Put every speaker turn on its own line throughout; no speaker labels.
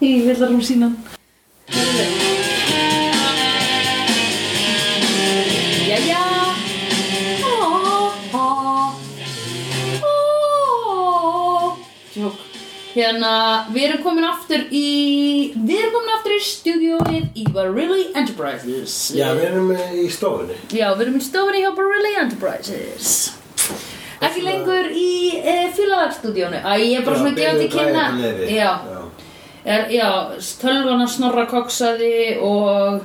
í villarúm sínan. Jæja! Jók. Hérna, við erum komin aftur í, við erum komin aftur í stúdióið í Barilli Enterprises.
Já, við erum eh, í stofunni
Já, við erum í stofunni hjá Barilli Enterprises. Ekki lengur í e, félagstúdíónu. Æ, ég er bara svona gefandi kynna. Já, er, já, tölvana snorra koksaði og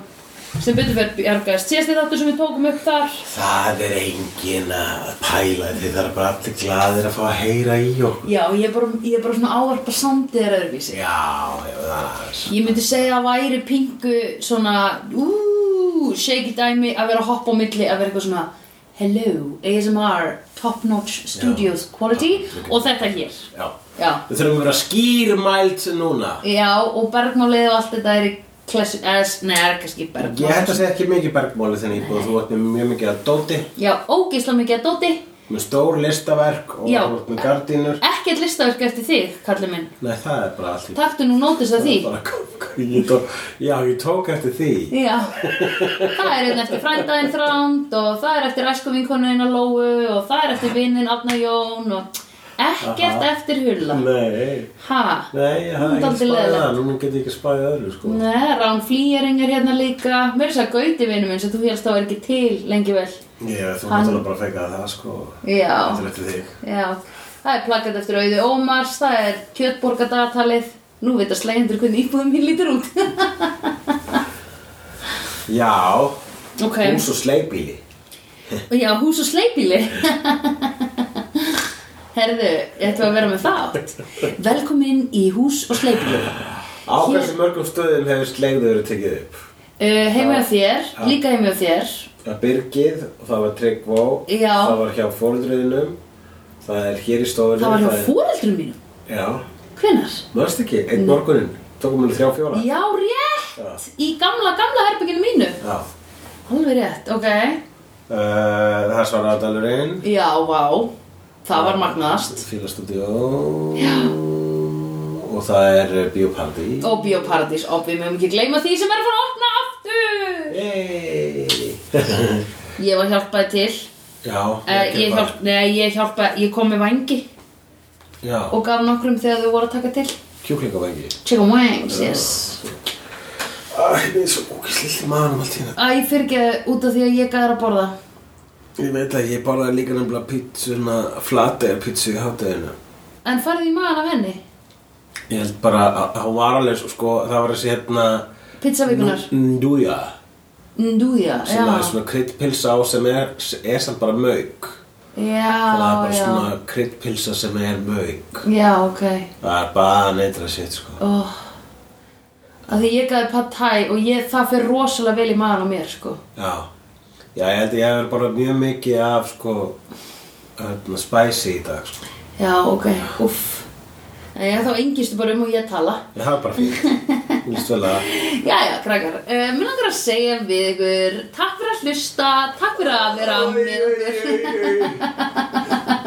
sem betur fyrir bjargaðist síðasti þáttur sem við tókum upp þar
Það er engin að pæla því það er bara allir glaðir að fá að heyra í okkur
já, ég er bara, ég er bara svona ávarpa samt eða öðruvísi
Já, já, það er aðeins
ég myndi segja að væri pingu svona úúú, shaky dæmi að vera að hoppa á milli, að vera eitthvað svona hello, ASMR, top notch studios quality
ok.
og þetta hér
Já,
já,
við þurfum að vera skýrmælt núna
já og bergmálið og allt þetta er í klassi, eða, nei, það er kannski
Ég
bergmálið
hætti að segja ekki mikið bergmáli þenni íbúð Þú ert með mjög mikið að dóti
já, ógeislega mikið að dóti
Með stór listaverk og
Já.
þú ert með gardínur
Ekkert listaverk eftir þig, kallið minn
Nei, það er bara allt í
Taktu nú nótis að því
Bara, ég tók, Já, ég tók eftir því
Já, það er einn eftir frændaðinn þránd og það er eftir æskuvinkonuðinn að Lóu og það er eftir vinninn Arna Jón og ekkert
Aha.
eftir hulla
Nei,
Ha?
nei, ég hafði ekki
Dálítið
spæðið
leiðilegt.
það Núna get ég ekki spæðið öðru, sko
Nei, Rán Flýjering er hérna líka Mér er þess að gauti vinnu minn sem þú helst að vera ekki til lengi vel
Já, þú
Hann-
náttúrulega bara fekaði það sko Þetta er
Já,
eftir þig
já Það er plakat eftir auði Ómars, það er kjötborgadagatalið Nú veit að slegjendur hvernig íbúðum mín lítur út
Já,
Ok,
hús og sleipíli
já, hús og sleipíli Herðu, ættu að vera með þátt Velkomin í hús og sleipíli
Á
Hér-
hversu mörgum stöðum hefur sleigður verið tekið upp?
uh, Heimi á þér,
Já.
líka heimi á þér
Það byrgið, það var Tryggvó
Já.
Það var hjá fóruðriðinum Það er hér í stofunum
Það var hjá fóreldrum mínum
Já,
Hvenar?
mörgst ekki, einn morguninn Tókum við þrjá fjóra
Já, rétt! Í gamla, gamla herbygginu mínu
Já.
Alveg rétt, ok
Uh, Það er Svaradalurinn
Já, vá Það var magnaðast
Fílastúdíó
Já.
Og það er eh, Bíópaldi
Og Bíóparadís, og við mögum ekki gleyma því sem er að fara að opna aftur
Yay
Ég var hjálpaði til
Já,
uh, Ég,
bara-
hjálp, nei, ég hjálpaði, ég kom með vangi
Já,
og gaf nokkrum þegar þau voru að taka til
kjúklingavægi
Chicken wings, yes
Æ, ég er svo ógæslilt í maðurum allt hérna.
Æ, fyrirgeðu út af því að ég gæði að borða
Ég veit að ég borðaði líka nefnilega pítsuna, flateir pítsu í hátæðinu.
En farið í maðan af henni
Ég held bara að hún var alveg svo, sko, það var þessi hérna...
Pizza vikunar
Ndúja,
Ndúja, já
sem það er svona kryddpilsa á sem er, er samt bara mög. Það er
Já,
bara
já
svona kryddpilsa sem er mög.
Já, ok
Það er bara neitra sitt, sko.
oh. Af því ég gæði pad thai og ég, það fer rosalega vel í maðan á mér, sko
Já, já, ég held að ég hefur borðað mjög mikið af, sko, hérna, spicy í dag, sko.
Já, ok, uff En ég þá engistu bara um og ég tala
Ég hafa bara fínt. Þú líst vel að...
Jæja, krakkar, uh, mér langar að segja við ykkur Takk fyrir að hlusta, takk fyrir að vera með okkur
Alltaf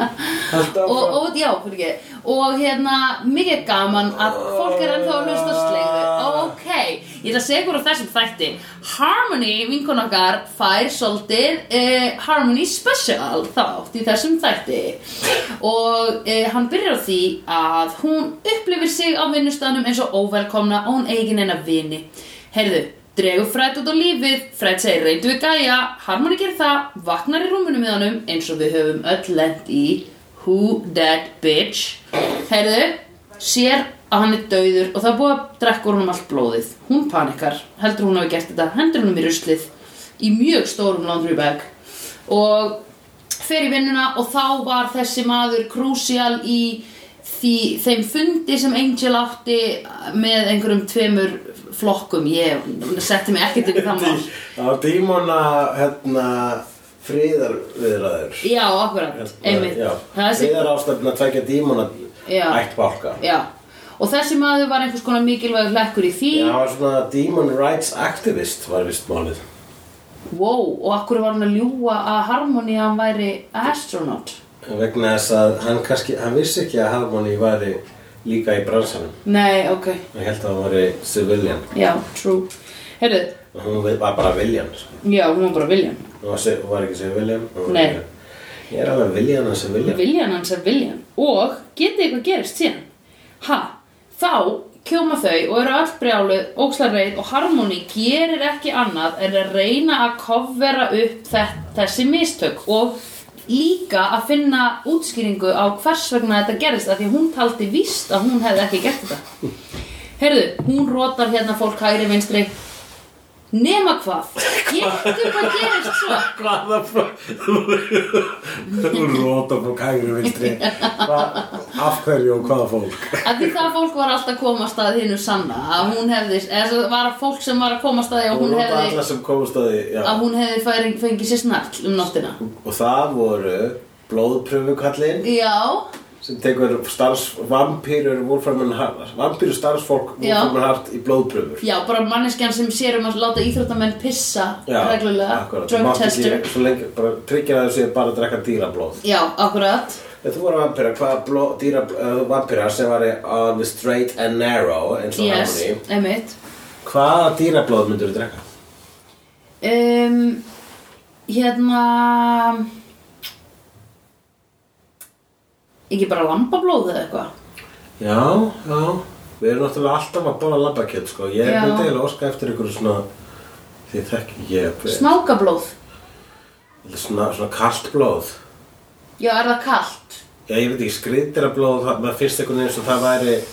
og, og já, fyrir ekki og hérna, mikið er gaman að fólk er ennþá að hlusta á slegðu ok, ég ætla að segja ykkur á þessum þætti Harmony, vinkun okkar fær svolítið eh, Harmony Special þátt í þessum þætti og eh, hann byrjar á því að hún upplifir sig á vinnustanum eins og óvelkomna og hún eigin en að vini heyrðu, dregur Fred út á lífið Fred segir reyndu við gæja Harmony gerir það, vaknar í rúmunu með honum eins og við höfum öll lent í Who that bitch Heyrðu, sér að hann er dauður og það er búið að drekka úr honum allt blóðið Hún panikar, heldur hún hafi gert þetta, hendur honum í ruslið Í mjög stórum laundry bag Og fer í vinnuna og þá var þessi maður krúsial í því, þeim fundi sem Angel átti með einhverjum tveimur flokkum Ég setti mig ekkert yfir það mál
Á dímona, hérna, friðarviðraður.
Já, akkurat, einmitt
Já,
Það er þessi
friðarástefna tvekja dímona
Já.
ætt bálka.
Já, og þessi maður var einhvers konar mikilvægur hlekkur í því
Já, hann var svona demon rights activist var vist málið.
Wow, og akkur var hann að ljúga að Harmony hann væri astronaut
Vegna þess að hann kannski, hann vissi ekki að Harmony væri líka í bransanum.
Nei, ok,
Ég held að hún væri civilian.
já, true Heyrðu,
Og Hún vi- var bara viljan, sko.
já, hún var bara Viljan
Hún var, si- hún var ekki civilian. hún var
Nei.
ekki- Ég er alveg viljan að civilian.
Viljan hans er viljan Og getið eitthvað gerist síðan Ha, þá kjóma þau og eru öll brjáluð, ókslarreið og harmoni gerir ekki annað en að reyna að kofvera upp þetta, þessi mistök og líka að finna útskýringu á hvers vegna þetta gerist af því að hún taldi víst að hún hefði ekki gert þetta Heyrðu, hún rótar hérna fólk hægri vinstri Nema hvað, getur hvað gerist svo
Hvaða frá... Þú róta frá kægri vinstri. Hva- Af hverju og hvaða fólk?
að því það fólk var alltaf komast að hinu sanna að hún hefði, eða svo var fólk sem var að komast að því að hún
róta alla
hefði
sem komast að því, já.
að hún hefði færing, fengið sér snarl um nóttina
Og það voru blóðpröfukallin
já,
sem tekur starfs, vampýrur Wolframin Hart, vampýrur starfsfólk
Já.
Wolframin Hart í blóðpröfur.
já, bara manneskjan sem sér um að láta íþróttamenn pissa reglulega,
akkurat. Þú
drug
mátt ekki-
tester
Svo lengi, bara tryggja að þessu bara að drekka dýrablóð.
já, akkurat
Ef þú voru vampýra, hvaða bló, dýra, uh, vampýra sem var í- on the straight and narrow, eins og
yes,
harmony,
emitt
hvaða dýrablóð myndur þú drekka?
um, hérna ekki bara lambablóð eða eitthvað
Já, já, við erum náttúrulega alltaf að bóla labbakjöld, sko. Ég
Já.
myndi eiginlega óska eftir ykkur svona, því þekki ég,
snákablóð,
svona, svona kalt blóð.
já, er það kalt
Já, ég veit ekki, skrýtira blóð, það- maður finnst einhvern veginn sem það væri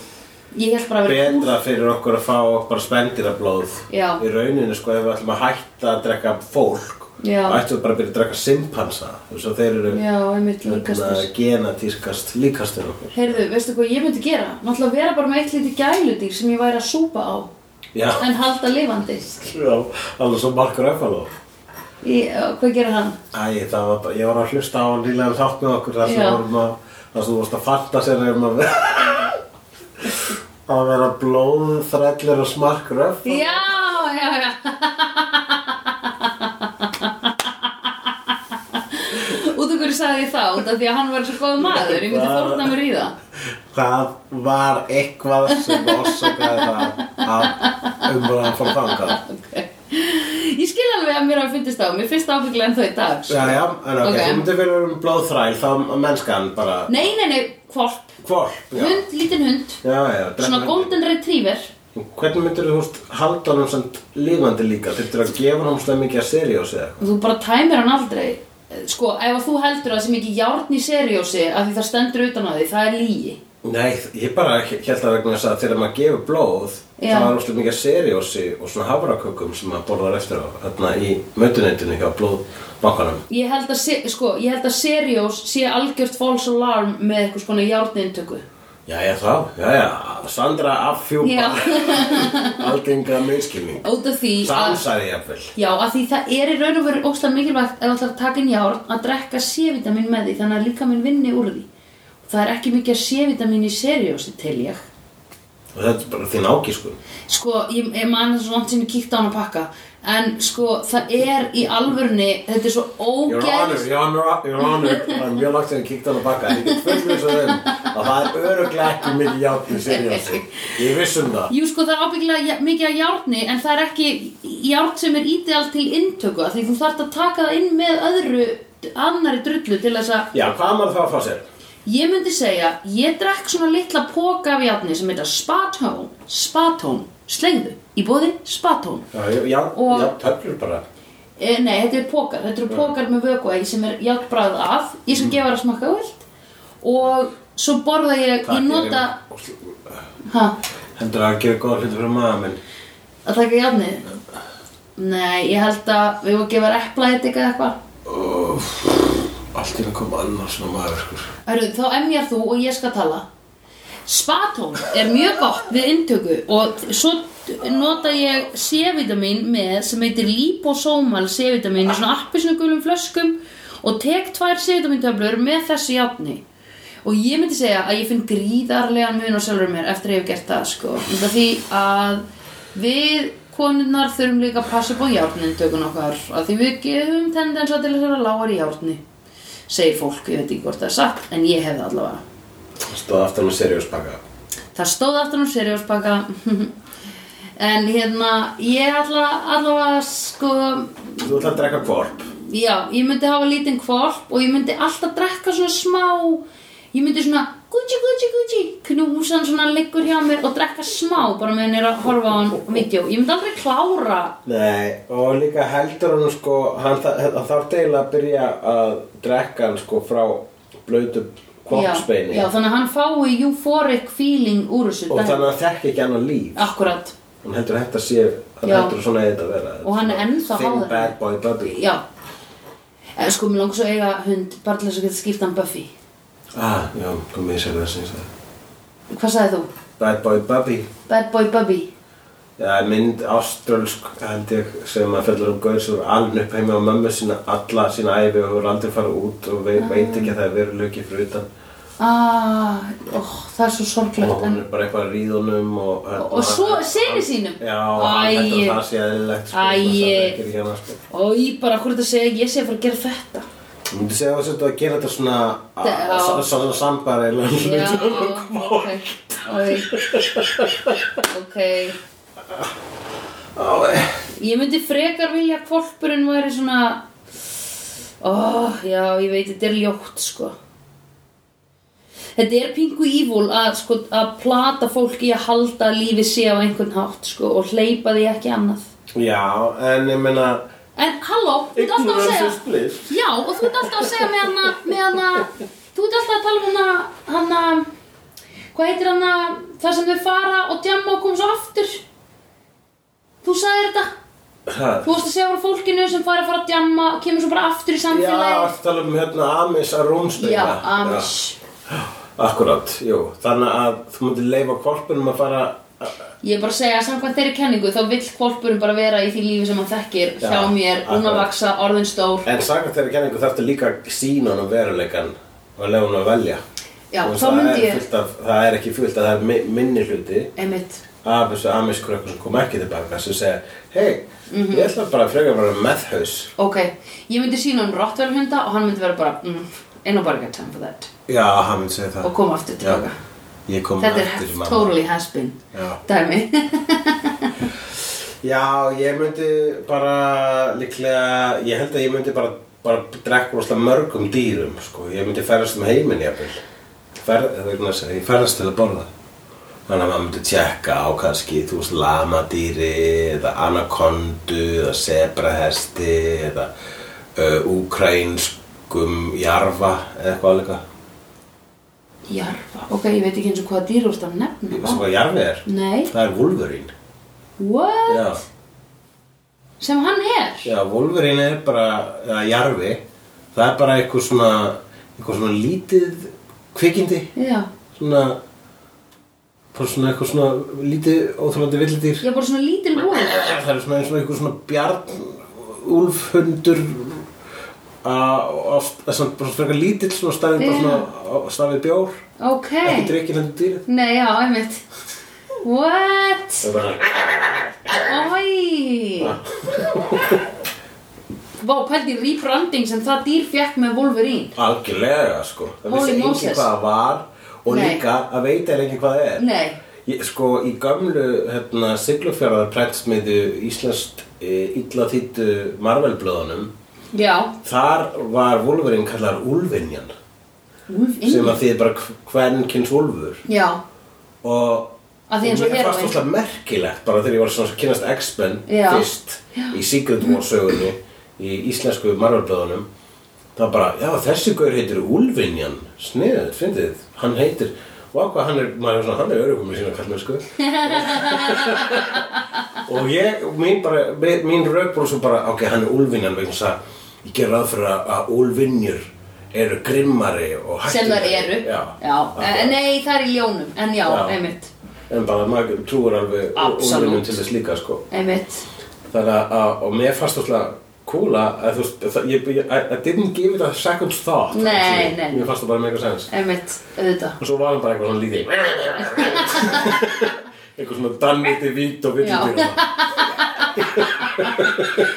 ég held bara að vera kúl
betra fyrir okkur að fá bara spendira blóð
Já.
í rauninu, sko, ef við ætlum að hætta að drekka fólk,
Já.
þá ættum við bara að byrja að drekka simpansa, þú veist að þeir eru
Já, einmitt
hérna,
líkastur
genatískast líkastir okkur.
Heyrðu, veistu hvað ég myndi gera? Náttúrulega vera bara með eitt lítið gæludýr sem ég væri að súpa á
Já,
En halda lifandi
já, alveg svo Markur Öfaló.
í, Hvað gerir hann?
Æ, það var bara, ég var að hlusta á nýlega þátt með okkur þar sem
Já.
vorum að, þar sem þú varst að fatta sér um að vera, að vera blóðþrællur og smarkur Öfaló.
Já, já, já Út af hverju sagði ég það? Út af því að hann var svo góð maður Ég myndi
Bara-
fórna mér í það
Það var eitthvað sem orsakaði það að umræðan fór þangað.
Ég skil alveg að mér hafa fundist á Mér finnst ábygglega en þau í dag sko.
Já, já, en ok,
Ok.
þú myndir fyrir um blóðþræl, þá er mennskan bara
Nei, nei, nei, hvolp
hvolp. Já,
Hund, lítinn hund
já, já. drekka
Svona
hundinn.
golden retriever
Hvernig myndir þú húst halda honum sem lífandi líka? Þurftur að gefa honum slega mikið að seriós eða eitthvað?
Þú bara tæmir hann aldrei Sko, ef að þú heldur að það sé mikið járn í seriósi af því það stendur utan á því, það er lígi
Nei, ég bara held að vegna þess að þegar maður gefur blóð,
Já.
þá er slega mikið að seriósi og svona hafrakökum sem maður borðar eftir á, þarna í mötuneytinu hjá blóðbankanum.
Ég held að, se- sko, ég held að seriós sé algjört false alarm með eitthvað skona járnintöku
Jæja þá, jæja, Sandra
Já.
affjúpa algenga meðskilning
Út af því að,
Samsæri jafnvel
Já, af því það er í raun og veru óslega mikilvægt ef þú ætlar að taka inn járn að drekka C-vitamin með því þannig að líka minn vinni úr því Það er ekki mikið C-vitamin í seriósi til ég
og þetta er bara þín ágískun
Sko, ég, ég man þess að vant sinni kíkta á hann að pakka En sko, það er í alvörni Þetta er svo
Your honor,
ógeð
your honor, your honor Það er mjög langt sem ég kíkt hann að baka en ég get fullt með þessu um að það er öruglega ekki mikið játni seriósi Ég viss um það
Jú sko, það er ábyggilega ja- mikið að járni En það er ekki járn sem er ídeal til inntöku af Því þú þarft að taka það inn með öðru Annari drullu til þess að
Já, hvað á maður þá að fá sér?
Ég myndi segja, ég drekk svona litla póka af járni Sem heita spatón Spatón, slegðu Í bóði spatón
Já, já, já,
Og-
já töflur bara
e, Nei, þetta er pókar, þetta eru pókar með vökuægi sem er játbræð af Ég skal gefa það að smakka vilt Og svo borða ég, ég nota ha,
Heldur það að gera góða hluti fyrir maður minn
Að taka játnið Nei, ég held að við vorum að gefa epla eitthvað eitthvað
Allt í að koma annars svona maður sko. skur.
Hörru, þá emjar þú og ég skal tala Spatón er mjög gott við inntöku og svo nota ég C-vitamin með sem heitir liposomal C-vitamin í svona appisnugulum flöskum og tek tvær C-vitamin töflur með þessu játni og ég myndi segja að ég finn gríðarlega mun á sjálfur mér eftir að ég hef gert það sko Út af því að við konurnar þurfum líka að passa upp á járninntökun okkar að því við gefum tendensa til að vera lágar í járni segir fólk, ég veit ekki hvort það er satt en ég hefði allavega
Stóð aftur með seriós baka
það stóð aftur um serióspakka en hérna ég ætla allavega sko
Þú ætlar að drekka kvorp
já, ég myndi hafa lítinn kvolp og ég myndi alltaf drekka svona smá ég myndi svona gucci gucci gucci knúsan svona liggur hjá mér og drekka smá bara meðan ég er að horfa á hann vídeo ég myndi aldrei klára
Nei, og líka heldur hann sko, hann þarf eiginlega að byrja að drekka hann sko frá blötu
já,
kvorpsbeini
já, þannig að hann fái euphoric feeling úr þessu
og
dæmi.
þannig að þekki ekki annan líf
akkurat
hann heldur að þetta sé, hann
Já.
heldur að svona eigi þetta að vera
Og hann er ennþá
Thin
háður.
bad boy bubby
já Eh, sko, mér langar svo að eiga hund bara til þess að geta skipt hann Buffy
Ah, já, kom ég sér það sem ég sagði
hvað sagði þú?
Bad boy bubby
Bad boy Bubby
Það er mynd áströlsk held ég sem að fellur um gauð sem er alveg upp heima á mömmu sína alla sína æfi og hefur aldrei farið út og veit, veit ekki að það er veruleiki fyrir utan
ah, oh, það er svo sorglegt
og
en
hún er bara eitthvað að ríðunum og,
Og- og svo syni sínum?
Já, hann heldur
Æi.
að það sé eðlilegt sko,
Æi.
það er ekki hérna sko
og ég bara, hvað er þetta að segja, ég sé að fara að gera þetta
Þú myndi segja að það að gera þetta svona
Já.
að- svona- svona sambari
já,
eða
ok Oj. ok
eh,
ég myndi frekar vilja að kvolpurinn væri svona ó, já, ég veit, þetta er ljótt sko Þetta er pingu ívúl að, sko, að plata fólk í að halda að lífi sé á einhvern hátt sko, og hleypa því ekki annað.
Já, en ég meina
En halló, þú ert alltaf að segja...
is bliss
Já, og þú ert alltaf að segja með hana, með hana, þú ert alltaf að tala um hana, hana, hvað heitir hana, þar sem þau fara og djamma og koma svo aftur. Þú sagðir þetta.
Það
Þú varst að segja frá fólkinu sem fara að fara að djamma og kemur svo bara aftur í
Já,
samfélagi.
að tala um hérna Amis að rúmstegna
Já, amis.
Akkurát, jú Þannig að þú myndir leifa korpunum að fara
Ég er bara að segja að samkvæmt þeirri kenningu þá vill kvolpurinn bara vera í því lífi sem hann þekkir
Já,
hjá mér, hún að
akkurat.
vaksa, orðin stór.
En sagan þeirri kenningu þarftu líka að sína hann um veruleikan og leifa hann að velja
Já,
Þú veist,
þá
það
myndi
er
ég-
fullt af, Það er ekki fullt að það er mi- minni hluti
Einmitt.
af þessu Amis krökkum sem kom ekki tilbaka sem segja, hei,
Mhm.
ég ætla bara að frekar að vera meðhaus
Ok, ég myndi sína hann rottvelhunda og hann myndi vera bara, mm, einu bara get time for that.
Já, hann myndi segja það
Og koma aftur tilbaka.
Já, Ég kom
Þetta
aftur,
er
mamma.
totally has been
Já.
dæmi
Já, ég myndi bara líklega, ég held að ég myndi bara, bara drekka rosalega mörgum dýrum, sko. Ég myndi ferðast um heiminn, jafnvel. Ferð, það er næst, ég ferðast til að borða. Þannig að maður myndi tjekka á kannski, þú veist, lamadýri, eða anakondu, eða sebrahesti, eða uh, ukrainskum jarfa, eða eitthvað alveg.
Jarfa, ok, ég veit ekki eins og hvaða dýr úr þetta
Ég
nefna
veist hvað jarfi er.
Nei,
Það er vulverín.
what?
Já,
Sem hann er
Já, Wolverine er bara, eða jarfi, það er bara eitthvað svona, eitthvað svona lítið kvikindi,
Já,
svona, bara svona eitthvað svona lítið óþrólandi villidýr.
ég er bara svona lítil húð
Það er svona eins og eitthvað svona bjarn, úlfhundur, að það er svona bara svona frekar lítill, svona stafið, bara svona á- stafið bjór,
Ok,
ekki drikkið hendur dýrið.
nei, já, einmitt What?
Það er bara,
Æ Vá, pældi rebranding sem það dýr fekk með Wolverine
algjörlega, sko. Það vissi
Holy
enginn
Moses.
hvað það var og
Nei.
líka að veita er enginn hvað það er.
Nei,
Ég, sko, í gamlu hérna, siglufjörðar prentsmiðu íslenskt e, illa þýttu Marvelblöðunum
já,
þar var Wolverine kallar Ulfinjan
Úlf
sem
inni
að þið bara hvern kynns Ulfur
Já,
og
Að því eins og
og mér
hér
fannst
var-
alltaf merkilegt bara þegar ég var svona að kynast X-Men
Já.
fyrst í Secret War sögunni í íslensku margarblöðunum það bara, já þessi gaur heitir Úlfinjan sniðið, fyndið, hann heitir og hvað hann er, maður er svona, hann er örugum með sína kallmenn sko og ég, mín bara mi- mín rauk bara svo bara, ok, hann er Úlfinjan vegna þess að ég ger ráð fyrir að- að Úlfinjur eru grimmari og
sem þær eru
já,
Eh, Nei, það er í ljónum, en já,
Já.
einmitt
En bara maður trúir alveg
Absolutt.
úrvinnum til þess líka sko.
Einmitt
Þannig að- að, og mér fannst alltaf kúla að þú veist, það- ég, ég, I, I didn't give it a second thought.
Nei,
actually.
nei.
Mér fannst það bara mega sens.
Einmitt, auðvitað
Og svo var hann bara eitthvað svona lítið. eitthvað svona danniti vít og
Já.
villið til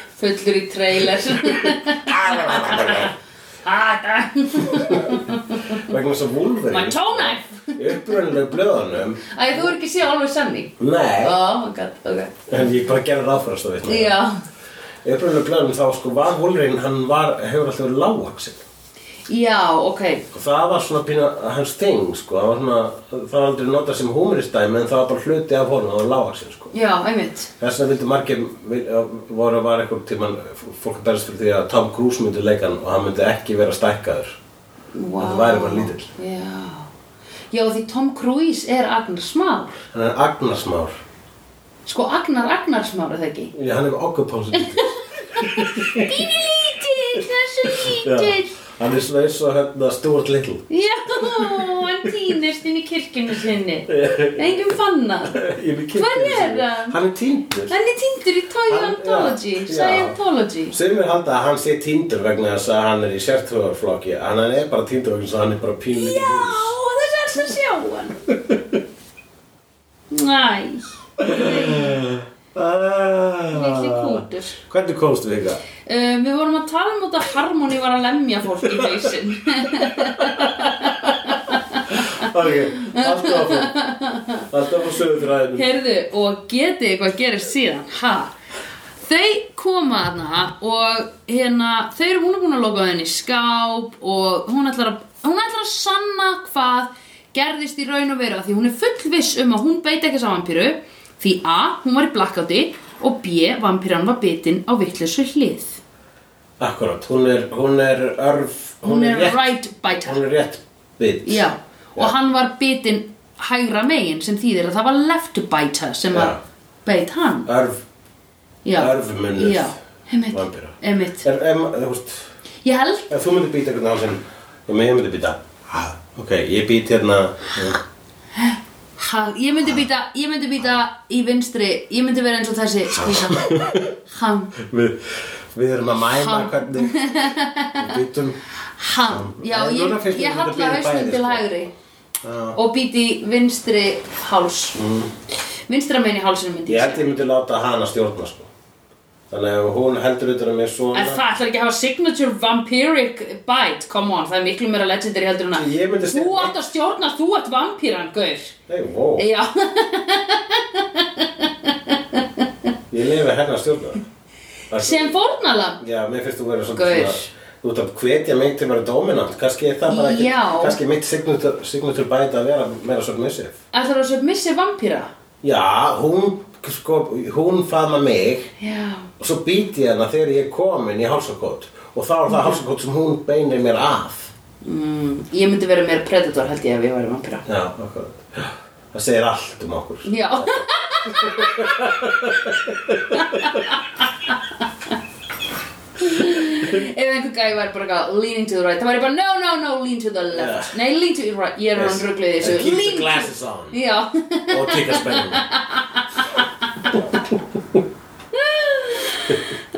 Fullur í trailer
það.
Ah,
vegna þess að Wolverine
My toe knife.
upprunalegu blöðunum
Æ, þú er ekki séð alveg sannig
nei,
Oh my god, ok
en ég bara gerði það fyrir að
Já,
upprunalegu blöðunum þá sko var Wolverine hann var, hefur alltaf verið lágvaxinn
já, ok
og það var svona pína hans thing sko, það var svona, það var aldrei notað sem humoristæmi en það var bara hluti af honum, það var lágvaxinn sko
Já, einmitt
Þess vegna vildu margir, vil- voru var eitthvað tímann, fólk að berist fyrir því að Tom Cruise myndi leika hann og hann myndi ekki vera stækkaður.
wow.
Þetta væri bara lítill.
Já Já, því Tom Cruise er Agnar Smár
Hann er agnarsmár.
Sko, Agnar Agnar Smár er það ekki
Já, hann er okkupánsið lítill.
Pínu lítill, þessu
Já.
lítill
Hann er svona eins og hérna Stuart Little.
Já, hann týnist inn í kirkjunni sinni Engum fanna
Ég veit ekki.
Hvar er hann?
Hann er týndur.
Hann er týndur í Toyontology,
Hann- já, já.
Scientology
Sumir halda að hann sé týndur vegna þess að hann er í sértrúarflokki. En hann er bara týndur vegna þess að hann er bara pínlítið
Já, þessi er alls að sjá hann Næ, litli
Ah.
kútur
Hvernig komstu við það?
Um, við vorum að tala um út að Harmony var að lemja fólk í hausinn.
Ok, alltaf að fór. Alltaf að sögur þræðinum.
Heyrðu, og getið eitthvað gerist síðan, ha? Þau koma þarna og hérna, þau eru hún er búin að loka henni í skáp og hún ætlar, að, hún ætlar að sanna hvað gerðist í raun og veru af því hún er fullviss um að hún beit ekki sá vampíru því a, hún var í blackouti og b, vampíran var bitinn á vittleysu hlið.
Akkurát, hún er, hún er örf, hún,
Hún
er,
er
rétt,
right biter.
hún er rétt bit.
Já, og
Já.
hann var bitinn hægra megin sem þýðir að það var left biter sem
Já.
var beit hann.
Örf,
Já.
örfumunnið
Já, emitt,
vampíra.
emitt.
er, em, þú veist,
Ég held,
ef þú myndir býta hvernig á sem, og mig myndir býta, ha, ok, ég býti hérna,
ha, ég myndi býta, ég myndi býta í vinstri, ég myndi vera eins og þessi, skýta. Hann,
við, við erum að mæma
Ha.
hvernig, við býtum,
hann, já,
En
ég,
núna finnst
ég
mér þetta
halla
bíða
hausnum
bæði,
til
sko.
hægri
Já. Mm.
og býti í vinstri háls. Vinstra megin í hálsinu myndi
ég
ég
held ég myndi láta hana stjórna, sko. Þannig að ef hún heldur utan að mér svona,
En það ætlar ekki að hafa signature vampiric bite, come on, það er miklu meira legendary heldur en að
Ég myndi
Þú
stefna-
átt að stjórna, þú ert vampíran, gaur
nei, vó,
Já,
ég lifi hennar stjórna. Það-
sem fórnalam
Já, mér finnst þú vera
Gaur.
svolítið svona Þú ert að hvetja mig til að vera dominant Kannski er það bara ekki
Já.
Kannski er mitt signature, signature bæta að vera meira submissive
Ætlar að submissi vampíra
Já, hún sko, hún faðma mig
Já,
og svo být ég hana þegar ég er komin í hálsakot og þá
Mhm.
er það hálsakot sem hún beinir mér að
mm, ég myndi vera meira predator held ég ef ég væri vampíra
Já, okkur Það segir allt um okkur
Já Ef einhver gæði væri bara eitthvað leaning to the right, það væri bara no, no, no, lean to the left
Já.
Nei, lean to the right, ég er hann ruggluð
And
þessu
Keep the
Lean to-
glasses on
Já
og tikka spennum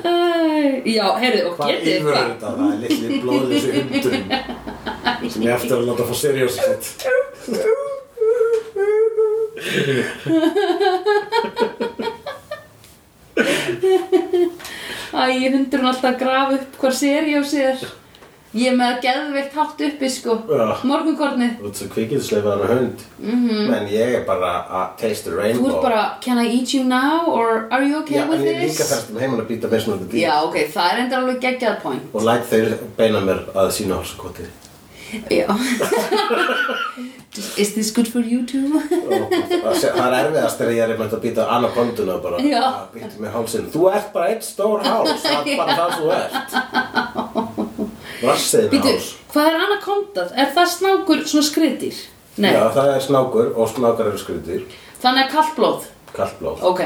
Æ, Já, heyrðu, og
Hvað
getið
yfir
hvað
þetta, það er litli blóðlösu hundurinn sem ég eftir að láta fá seriósið sitt
Æ, hundurinn alltaf að grafa upp hvar seriósið er Ég er með að geðveikt hátt uppi, sko
Já.
Morgunkornið
Þú ert svo kvikindisleifaðan hund mm -hmm. En ég er bara að taste the rainbow
Mhm. Þú ert bara, can I eat you now or are you okay
Já, en
with
ég er
this?
líka þarst um heimann að býta með svona dýr
Já, ok, það er endur alveg geggjað point
Og læt þeir beina mér að sína hálsakoti
Já Is this good for you too?
Og Það er erfiðast þegar ég er með að býta anakonduna bara
Já.
að Býta með hálsinn Þú ert bara einn stór háls Það er bara það þú ert Rassiðin
Býtu,
háls
hvað er anaconda? Er það snákur svona skritir? Nei,
Já, það er snákur og snákar eru skrytir
þannig að kallt blóð
Kallt blóð
Ok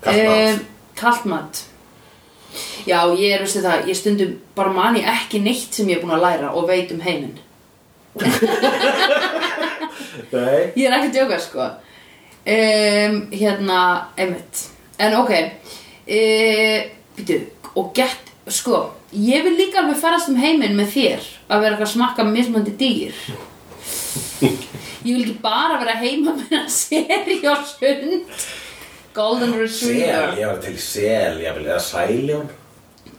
Kalt mat.
Ehm, Kalt mat Já, ég er, veistu það, ég stundum bara mani ekki neitt sem ég er búin að læra og veit um heiminn
Nei
Ég er ekki að djóka sko um, Hérna, einmitt En ok uh, Býtu, og gett Sko, ég vil líka alveg farast um heiminn með þér Að vera eitthvað að smakka mismandi dýr Ég vil ekki bara vera heima með að serja hund Golden
Sel,
Retriever
ég var til í sel, ég vil eða sæljón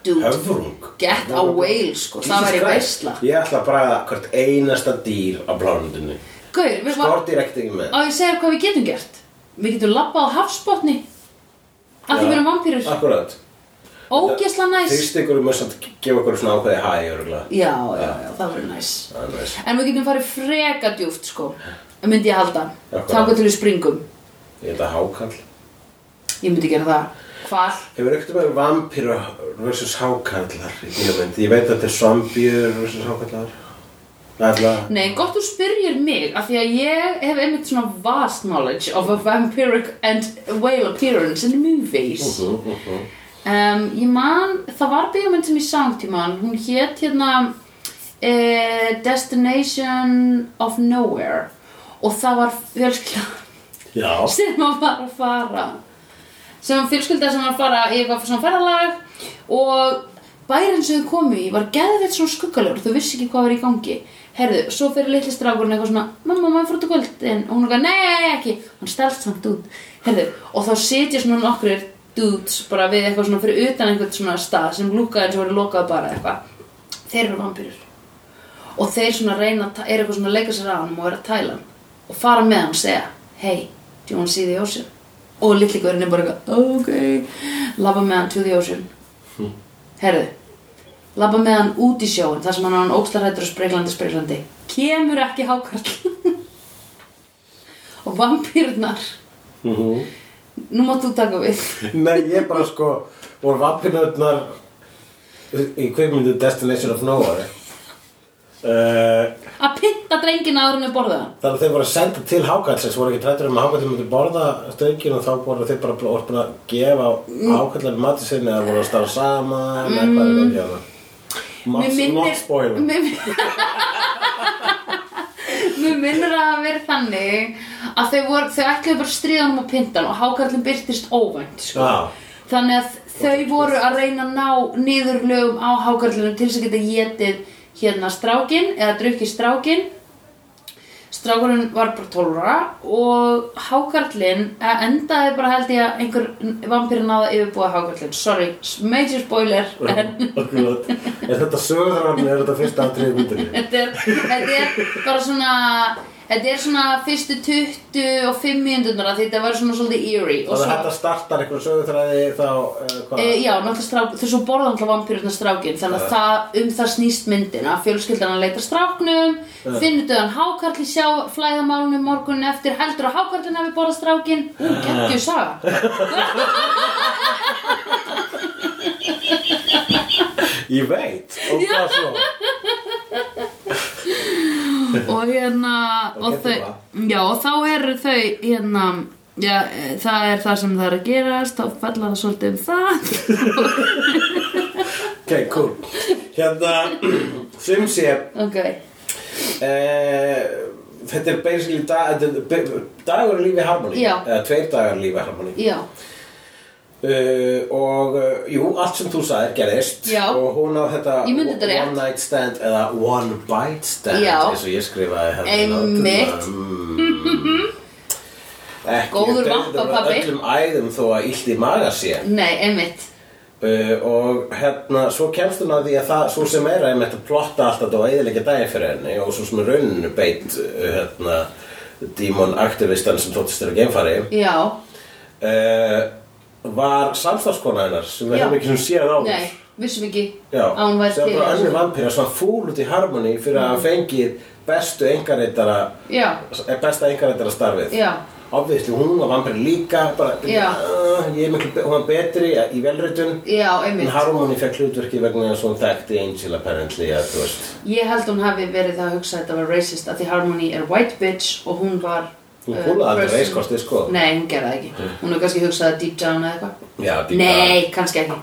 dude
Höfrung
Get a whale, sko, það
Jesus
væri
Christ.
veisla.
Ég ætla að bræða hvert einasta dýr á blánundinu
Gaur, við varum
Skortir ekkert ekki með
Á ég segja þér hvað við getum gert Við getum labbað á hafsbotni Af því
Já.
við erum vampýrur
Akkurat
Ógesla næs
Fyrst ykkur um að gefa okkur svona ákveði hæ örugglega.
Já, já, já, það verður næs
Það er næs.
En við getum farið freka djúft sko Myndi ég halda
Akkurat.
Þáka til við springum
Ég held að hákall
Ég myndi gera það Hval
Hefur ekkert með vampýra versus hákallar í bíómynd? Ég veit að þetta er svampýr versus hákallar. Alltaf.
Nei, gott þú spyrjir mig af því að ég hef einmitt svona vast knowledge of a vampiric and whale appearance in movies um, Ég man, það var bíómynd sem ég sang tíman hún hét hérna eh, Destination of Nowhere og það var fjölskylda
Já.
sem að var að fara sem fjölskylda sem var að fara í eitthvað svona ferðalag og bærin sem þau komu í var geðveitt svona skuggalegur þau vissi ekki hvað var í gangi herðu, svo fyrir litli strákurinn eitthvað svona mamma, maður fór út á kvöldin og hún eitthvað, nei, ekki hann stelst samt út herðu, og þá sitja svona nokkur dudes bara við eitthvað svona fyrir utan einhvern svona stað sem lúkaði eins og voru lokað bara eitthvað þeir eru vampýrur og þeir svona reyna að ta- eru eitthvað svona að leika sér á hann og vera að tæla hann og fara með hann og segja hey, do you want to see the ocean? og litli gaurinn er bara eitthvað ok, labba með hann to the ocean herðu labba með hann út í sjóin þar sem hann er hann ókslarhættur og spreglandi spreglandi kemur ekki hákarl og vampýrnar
Mhm.
nú mátt þú taka við
Nei, ég bara sko, voru vampýrnöðnar í kvikmyndu Destination of Nowhere. Uh,
að pinta drengina áður en við borða hann
Þannig að þeir voru að senda til hákallsins, voru ekki trættur um að hákallin myndi borða stöngin og þá voru þeir bara, voru bara að gefa
Mm.
hákallin mati sinni eða voru að starfa saman eða hvað er að gera.
Mér
Not, not spoiler.
mér, mér minnir að hafa verið þannig að þau, voru, þau ætluðu bara að stríða honum á pindan og hákarlinn byrtist óvænt sko.
Já.
þannig að þau voru að reyna að ná niðurlögum á hákarlinu til þess að geta getið hérna strákin eða drukkið strákin strákurinn var bara 12 ára og hákarlinn eh, endaði bara held ég að einhver vampýri náða yfirbúa hákarlinn sorry, major spoiler en
Akkurat. Er þetta sögurðararni, er þetta fyrsta aðtrið myndinni?
þetta er, þetta er bara svona Þetta er svona fyrstu 20 og 5 mínúturnar að þetta var svona svolítið eerie og
Þannig að
svo,
þetta startar einhver sögurþræði þá, uh, hvað?
e, já, náttúrulega strák, þau svo borða alltaf vampýrurnar strákin þannig að það, um það snýst myndin að fjölskyldan að leita stráknum finnur döðan hákarl í sjá flæðamálunum morgunin eftir, heldur að hákarlinn hafi borðað strákin, ú, geggjur saga
Ég veit. Og hvað svo?
og hérna og,
getur
þau, já, og þá eru þau hérna já, e, það er það sem það er að gerast þá falla það svolítið um það
Ok, cool. Hérna, sem sé,
Ok,
Eh, þetta er basically da, þetta er be- dagur í lífi harmoni
Já.
eða tveir dagar í lífi harmoni
já,
uh, og uh, jú, allt sem þú sagðir gerðist
Já.
og hún á þetta
Ég mundi þetta rétt.
one night stand eða one bite stand
Já.
eins og ég skrifaði hérna
Einmitt.
Mm. ekki
Góður
dauður
vampapabbi.
öllum æðum þó að illt í maga sé
nei, einmitt
uh, og hérna svo kemst hún að því að það svo sem er að einmitt að plotta allt þetta og eðilegja daginn fyrir henni og svo sem er rauninu beitt uh, hérna dímon aktivistan sem þóttist er að geimfari
Já,
uh, var samstafskona hennar sem við
Já.
hefum ekki sem séð á
nei, vissum ekki
Já,
að hún væri
sem
til Mm. sko.
bara önnur vampýra sem var fúl út í harmoni fyrir að hafa fengið bestu engareitara
Já,
besta engareitara starfið
Já.
Obviously, hún var vampýra líka bara,
Já.
uh, ég er miklu, be- hún var betri í velritun
já,
En
einmitt
Harmony fekk hlutverki vegna þess að hún þekkti Angel apparently að þú veist
Ég held hún hafi verið það að hugsa að þetta var racist að því Harmony er white bitch og hún var
Hún
uh,
púlaði aldrei
person-
reiskostið, sko.
Nei, hún gerði það ekki Hún hefur kannski hugsað deep down eða eitthvað
Já, dýpa
Nei, kannski ekki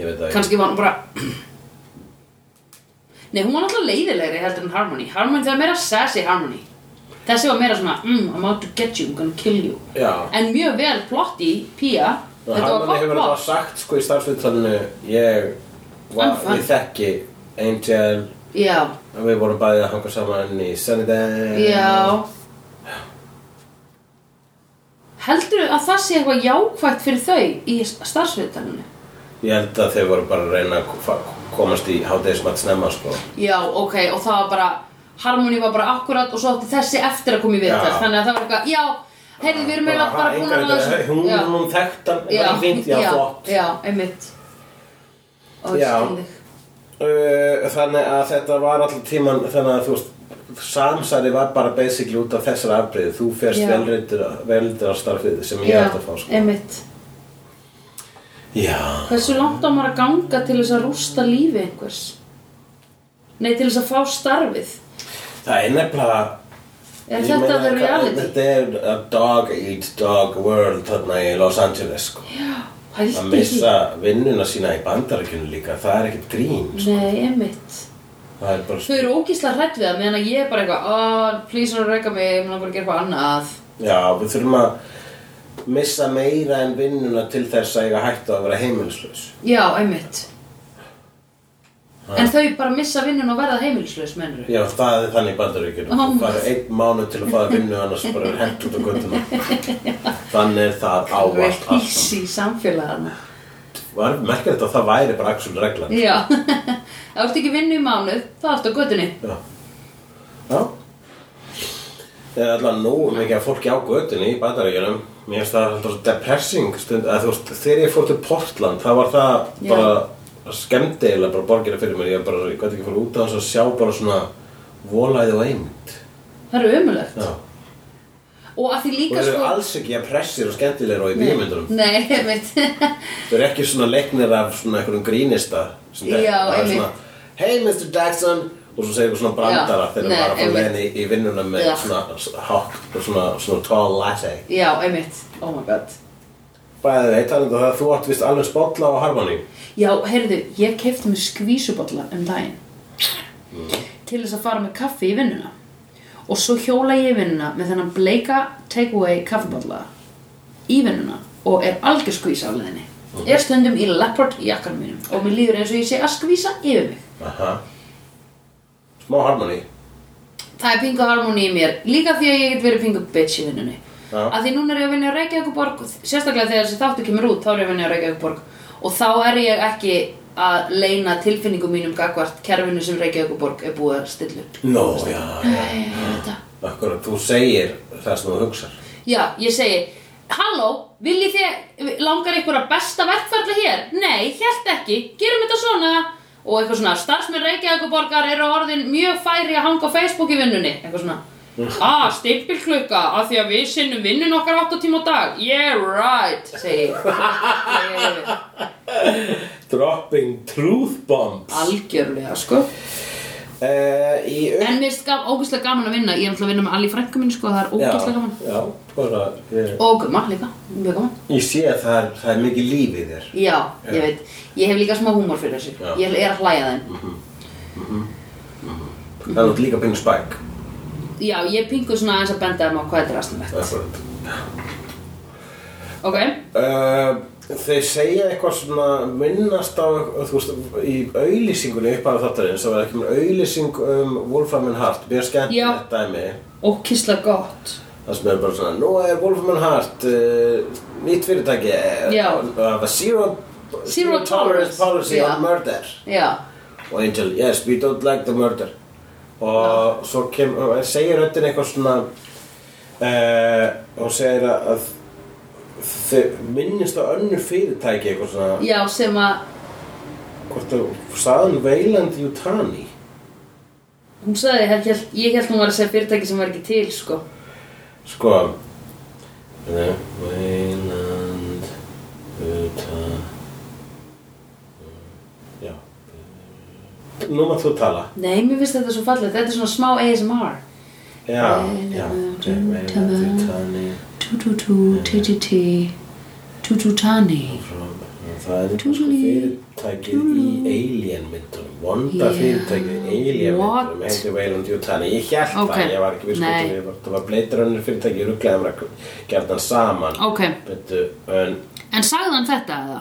Ég veit það
Kannski var hún bara Nei, hún var náttúrulega leiðilegri heldur en Harmony Harmony, það er meira sassy Harmony Þessi var meira svona, mm, I'm out to get you, I'm gonna kill you
Já.
En mjög vel plotti, Pía
Og
Þetta var
Harmony
gott
hefur
plott
bara sagt sko í starfsvitalinu Ég
I'm
var,
fine.
ég þekki Angel
Já,
og Við vorum bæðið að hanga saman í Sunnydale
já Heldur að það sé eitthvað jákvætt fyrir þau í starfsviðtalinu?
Ég held að þeir voru bara að reyna að fa- komast í hádegismat snemma sko.
Já, ok, og það var bara Harmony var bara akkurat og svo átti þessi eftir að koma í viðtal
Já.
Þannig að það var eitthvað, já, heyrðu, við erum eiginlega bara búin að ná þessu
Hún,
Já.
hún þekkt hann, það
Já,
er fint, já,
já,
flott
já, einmitt Ó, ég
Já.
skil þig.
Uh, Þannig að þetta var alltaf tíman Þannig að þú veist Samsari var bara basically út af þessar afbreyð Þú
Já.
fyrst velreytur á starfið sem ég
Já,
ætti að fá sko.
einmitt
Já,
Hversu langt á maður að ganga til þess að rústa lífi einhvers? Nei, til þess að fá starfið
það er nefnilega
Er
Ég
þetta
meina,
the
hvað-
reality?
Þetta er a dog eat dog world þarna í Los Angeles sko.
Pældi
Að
í því.
missa vinnuna sína í bandarækjunum líka Það er ekkert grín sko.
Nei, einmitt
Það er bara
Þau eru ógísla hrætt við það meðan að ég er bara eitthvað oh, Please, hann reyka mig, ég mun að bara gera eitthvað annað
Já, við þurfum að missa meira en vinnuna til þess að eiga hættu að vera heimilislaus.
Já, einmitt
Ah.
En þau bara missa vinnun og verða heimilislaus, mennur
Já, það er þannig í bandaríkjunum.
Ó.
Þú farið einn mánu til að fara vinnu annars bara er hent út á göttuna. Þannig er það ávallt alltaf.
Písi í samfélagana
Var merkilegt að það væri bara axul reglan.
Já, það ertu ekki vinnu í mánuð, það ertu á götunni
Já. Já. Það er alltaf nú mikið að fólki á göttunni í bandaríkjunum. Mér finnst það alltaf svo depressing stund. Að, þú veist, þegar ég fór til Portland, það var það
Já.
bara skemmtilega bara borgina fyrir mér. Ég bara, ég gæti ekki fór út á þess að sjá bara svona volaði og einmitt.
Það eru ömulegt
Já.
Og að því
Og
líka
þeir eru
sko
alls ekki að pressir og skemmtilegir og í bíómyndunum.
Nei, einmitt
Þau eru ekki svona leiknir af svona einhverjum grínista sem
Já,
það er
einmitt.
svona, Hey Mr. Jackson og svo segir eitthvað svona brandara
Já,
þegar
nei,
þeir bara að
einmitt.
leiðin í, í vinnuna með
Já.
svona hátt og svona, svona tall latte
Já, einmitt, oh my god
Bæðið veit hann um það að þú átt vist alveg spotla á harmoni
Já, heyrðu, ég kefti mér skvísubolla um daginn til þess að fara með kaffi í vinnuna og svo hjóla ég í vinnuna með þennan bleika takeaway kaffibolla í vinnuna og er algjör skvís af leðinni er stundum í leopard jakkanum mínum og mér líður eins og ég sé að skvísa yfir mig
Aha Smá harmoni
það er pingu harmoni í mér líka því að ég get verið pingu bitch í vinnunni
Já.
að því núna er ég að vinna í Reykjavíkuborg sérstaklega þegar þessi þáttu kemur út þá er ég að vinna í Reykjavíkuborg og þá er ég ekki að leina tilfinningum mínum gagvart kerfinu sem Reykjavíkuborg er búið að stilla upp
Nó, já, já
Æ, þetta.
Akkurat, þú segir það sem þú hugsar
já, ég segi Halló, viljið þið, langar einhverja besta verkfærla hér? Nei, hélt ekki, gerum þetta svona og eitthvað svona, starfsmenn Reykjavíkuborgar eru orðin mjög færi að hanga á Facebook í vinnunni, eitthvað svona Ah, stimpilklukka, af því að við sinnum vinnun okkar 8 tíma á dag Yeah, right, segi ég Ég er yfir.
Dropping truth bombs
Algjörlega, sko
uh, Í upp
En mér er ógæslega gaman að vinna, ég er náttúrulega að vinna með Alli frænku minn, sko, það er
Já,
ógæslega gaman
já, bara ég,
Og gumma líka, mjög gaman
ég sé að það er, það er mikið líf í þér
Já, ég
Já.
veit, ég hef líka smá húmor fyrir þessu
Já.
Ég er að hlæja þeim
Það er líka pínu spæk
Já, ég pingu svona aðeins að benda þeim á hvað þetta er aðsnumett
Akkurat
Ok,
uh, Þeir segja eitthvað svona minnast á, þú veist, í auðlýsingunni upp af þáttarins það var ekki með auðlýsing um Wolfram and Hart mjög
Já.
skemmtilegt dæmi
ókíslega gott
það sem er bara svona, nú er Wolfram and Hart uh, nýtt fyrirtæki
Já.
uh, zero,
Zero tolerance.
policy
Já.
on murder
Já,
og Angel, yes, we don't like the murder og svo kem, og segir röddin eitthvað svona uh, og segir að, að þau minnist á önnur fyrirtæki eitthvað svona
já, sem að
hvort þau saðan Veiland Jutani
Hún sagði, ég held, ég held hún var að segja fyrirtæki sem var ekki til, sko
sko eh, Veiland Jutani já nú maður þú tala
Nei, mér finnst þetta svo fallegt, þetta er svona smá ASMR
já, já Veiland Jutani
Tututú, tititi Tututani
Það er einhvers konar fyrirtækið í Alien myndunum, vonda
Yeah.
fyrirtækið í Alien
What?
myndunum, heitir Veiland Jutani, ég held
Ok.
það, ég var ekki viss hvort
Nei.
að ég var, það var bleitrönnir fyrirtækið, ég rugglaði mér að gera þann saman,
Ok,
betu, en
en sagði hann þetta eða?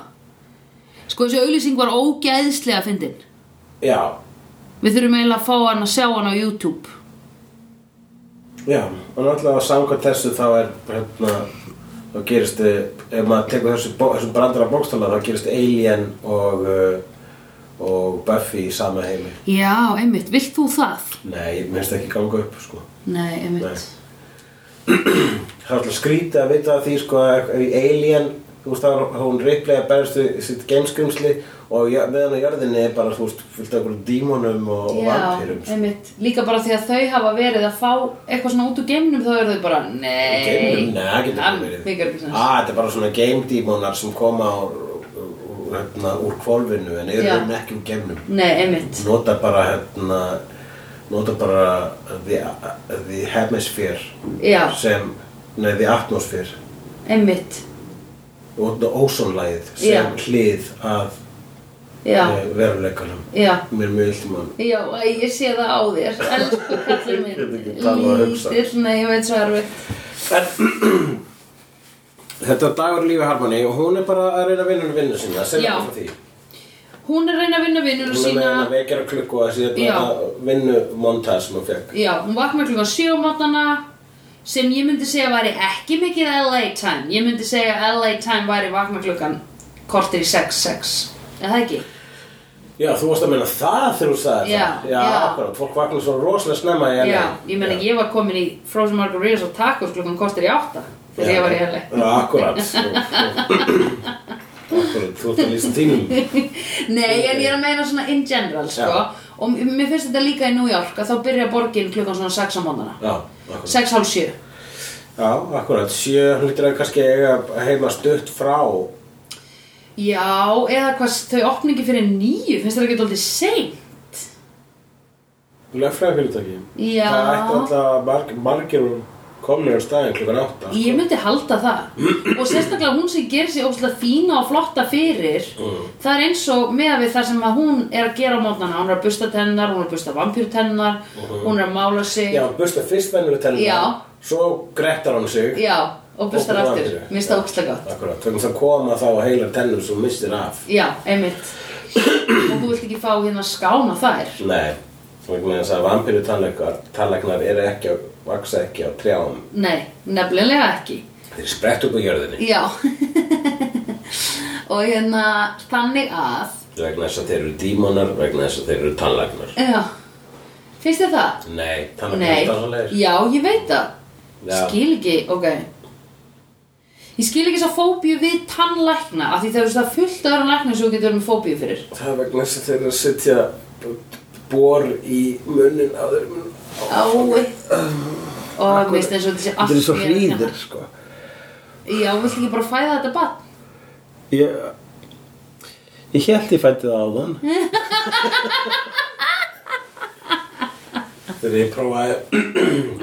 Sko, þessi auglýsing var ógeðslega fyndin
já,
Við þurfum eiginlega að fá hann að sjá hann á YouTube
já, og náttúrulega að samkvæmt þessu þá er, hérna, þá gerist eh, ef maður tekur þessu, bó- þessum brandara bókstala þá gerist Alien og uh, og Buffy í sama heimi
Já, einmitt, vilt þú það?
nei, mér finnst ekki ganga upp sko
Nei, einmitt
Nei. það er alltaf skrítið að vita af því sko að í Alien þú veist að hún ripley að berjast við sitt gameskrumsli og jö- meðan á jörðinni er bara þú veist fullt af einhverjum dímonum og, sko. og um- vampýrum
Já, einmitt, líka bara því að þau hafa verið að fá eitthvað svona út úr geimnum þá eru þau bara, nei
Geimnum? Nei, það getur
Hann
ekki verið.
Mikið er ekki
Ah, þetta er bara svona game dímonar sem koma úr, úr, hérna, úr kvolfinu en eru
Já.
þeim ekki úr geimnum.
Nei, einmitt
Nota bara, hérna, nota bara the, the hemisphere
Já,
sem, nei, the atmosphere
einmitt
og the ozone lægið sem
Já.
hlið að
Já,
eh, veruleikanum.
já
Mér er mjög illt mann.
Já, æ, ég sé það á þér, elsku kallur
Ég get ekki
minn
talað og hugsað.
Lítill, nei, ég veit svo erfitt
Þetta er dagur í lífi Harmony og hún er bara að reyna að vinna vinnu sinna, sem
Já.
er frá því.
Hún er að reyna að vinna vinnur
Hún er með
sína
hennar vekjara klukku og þessi
Já.
þetta vinnumontar sem hún fekk.
Já, hún vaknar klukkan 7 á mótana sem ég myndi segja væri ekki mikið LA time ég myndi segja að LA time væri vakna klukkan kortir í 6-6 er það ekki?
Já, þú varst að meina það þegar þú sagði
Já,
það. Já,
já.
akkurat. Fólk vaknar svo rosalega snemma í LA.
Já, ég meina ég var komin í Frozen Margaritas og tacos klukkan kortir í 8 þegar ég var í LA
Já, akkurat. akkurat, þú ert að lýsa tínum.
Nei, en ég er að meina svona in general sko.
Já.
og m- mér finnst þetta líka í New York að þá byrja borgin klukkan svona 6 á mótana
Já, akkurat.
6.30
Já, akkurat. Sjö hlýtur að kannski eiga heima stutt frá.
Já, eða hvað þau opna ekki fyrir 9 finnst þetta ekki alltaf seint
Löffræðafyrirtæki.
Já.
Það ætti alltaf marg, margir komnir á staðin klukkan átta.
Ég myndi halda það og sérstaklega hún sem gerir sig óslega fína og flotta fyrir það er eins og með við það sem að hún er að gera á mótnana hún er að busta tennar, hún er að busta vampýrtennar hún er að mála sig
Já, busta fyrst vennilu tennum.
Já.
Svo grettar hann sig.
Já, og bustar
Og
aftur,
vampíru.
mér finnst það
Já,
óslega gott
Akkurat. Þannig að koma þá heilar tennum sem þú misstir af.
Já, einmitt og þú vilt ekki fá hérna skána þær
Nei, vegna þess að vampiru tannleiknar eru ekki að vaksa ekki á trjáum.
Nei, nefnilega ekki
Þeir sprett upp á jörðinni
Já og hérna þannig að
vegna þess að þeir eru dímonar, vegna þess að þeir eru tannleiknar.
Já, finnst þér það?
Nei,
Nei,
tannleiknar tannleiknar.
já, ég veit það
Já.
Skil ekki, ok Ég skil ekki þess að fóbíu við tannlækna af því það er það fullt öðra lækna sem þú getur verið með fóbíu fyrir
Það er vegna þess að þeir eru að setja bor í munnin á þeir munn.
Ái Og minnst eins og þessi allt í einu hérna.
sko.
Já, vill ekki bara fæða þetta bann
Ég, ég held ég fætti það á þann. Þegar ég prófaði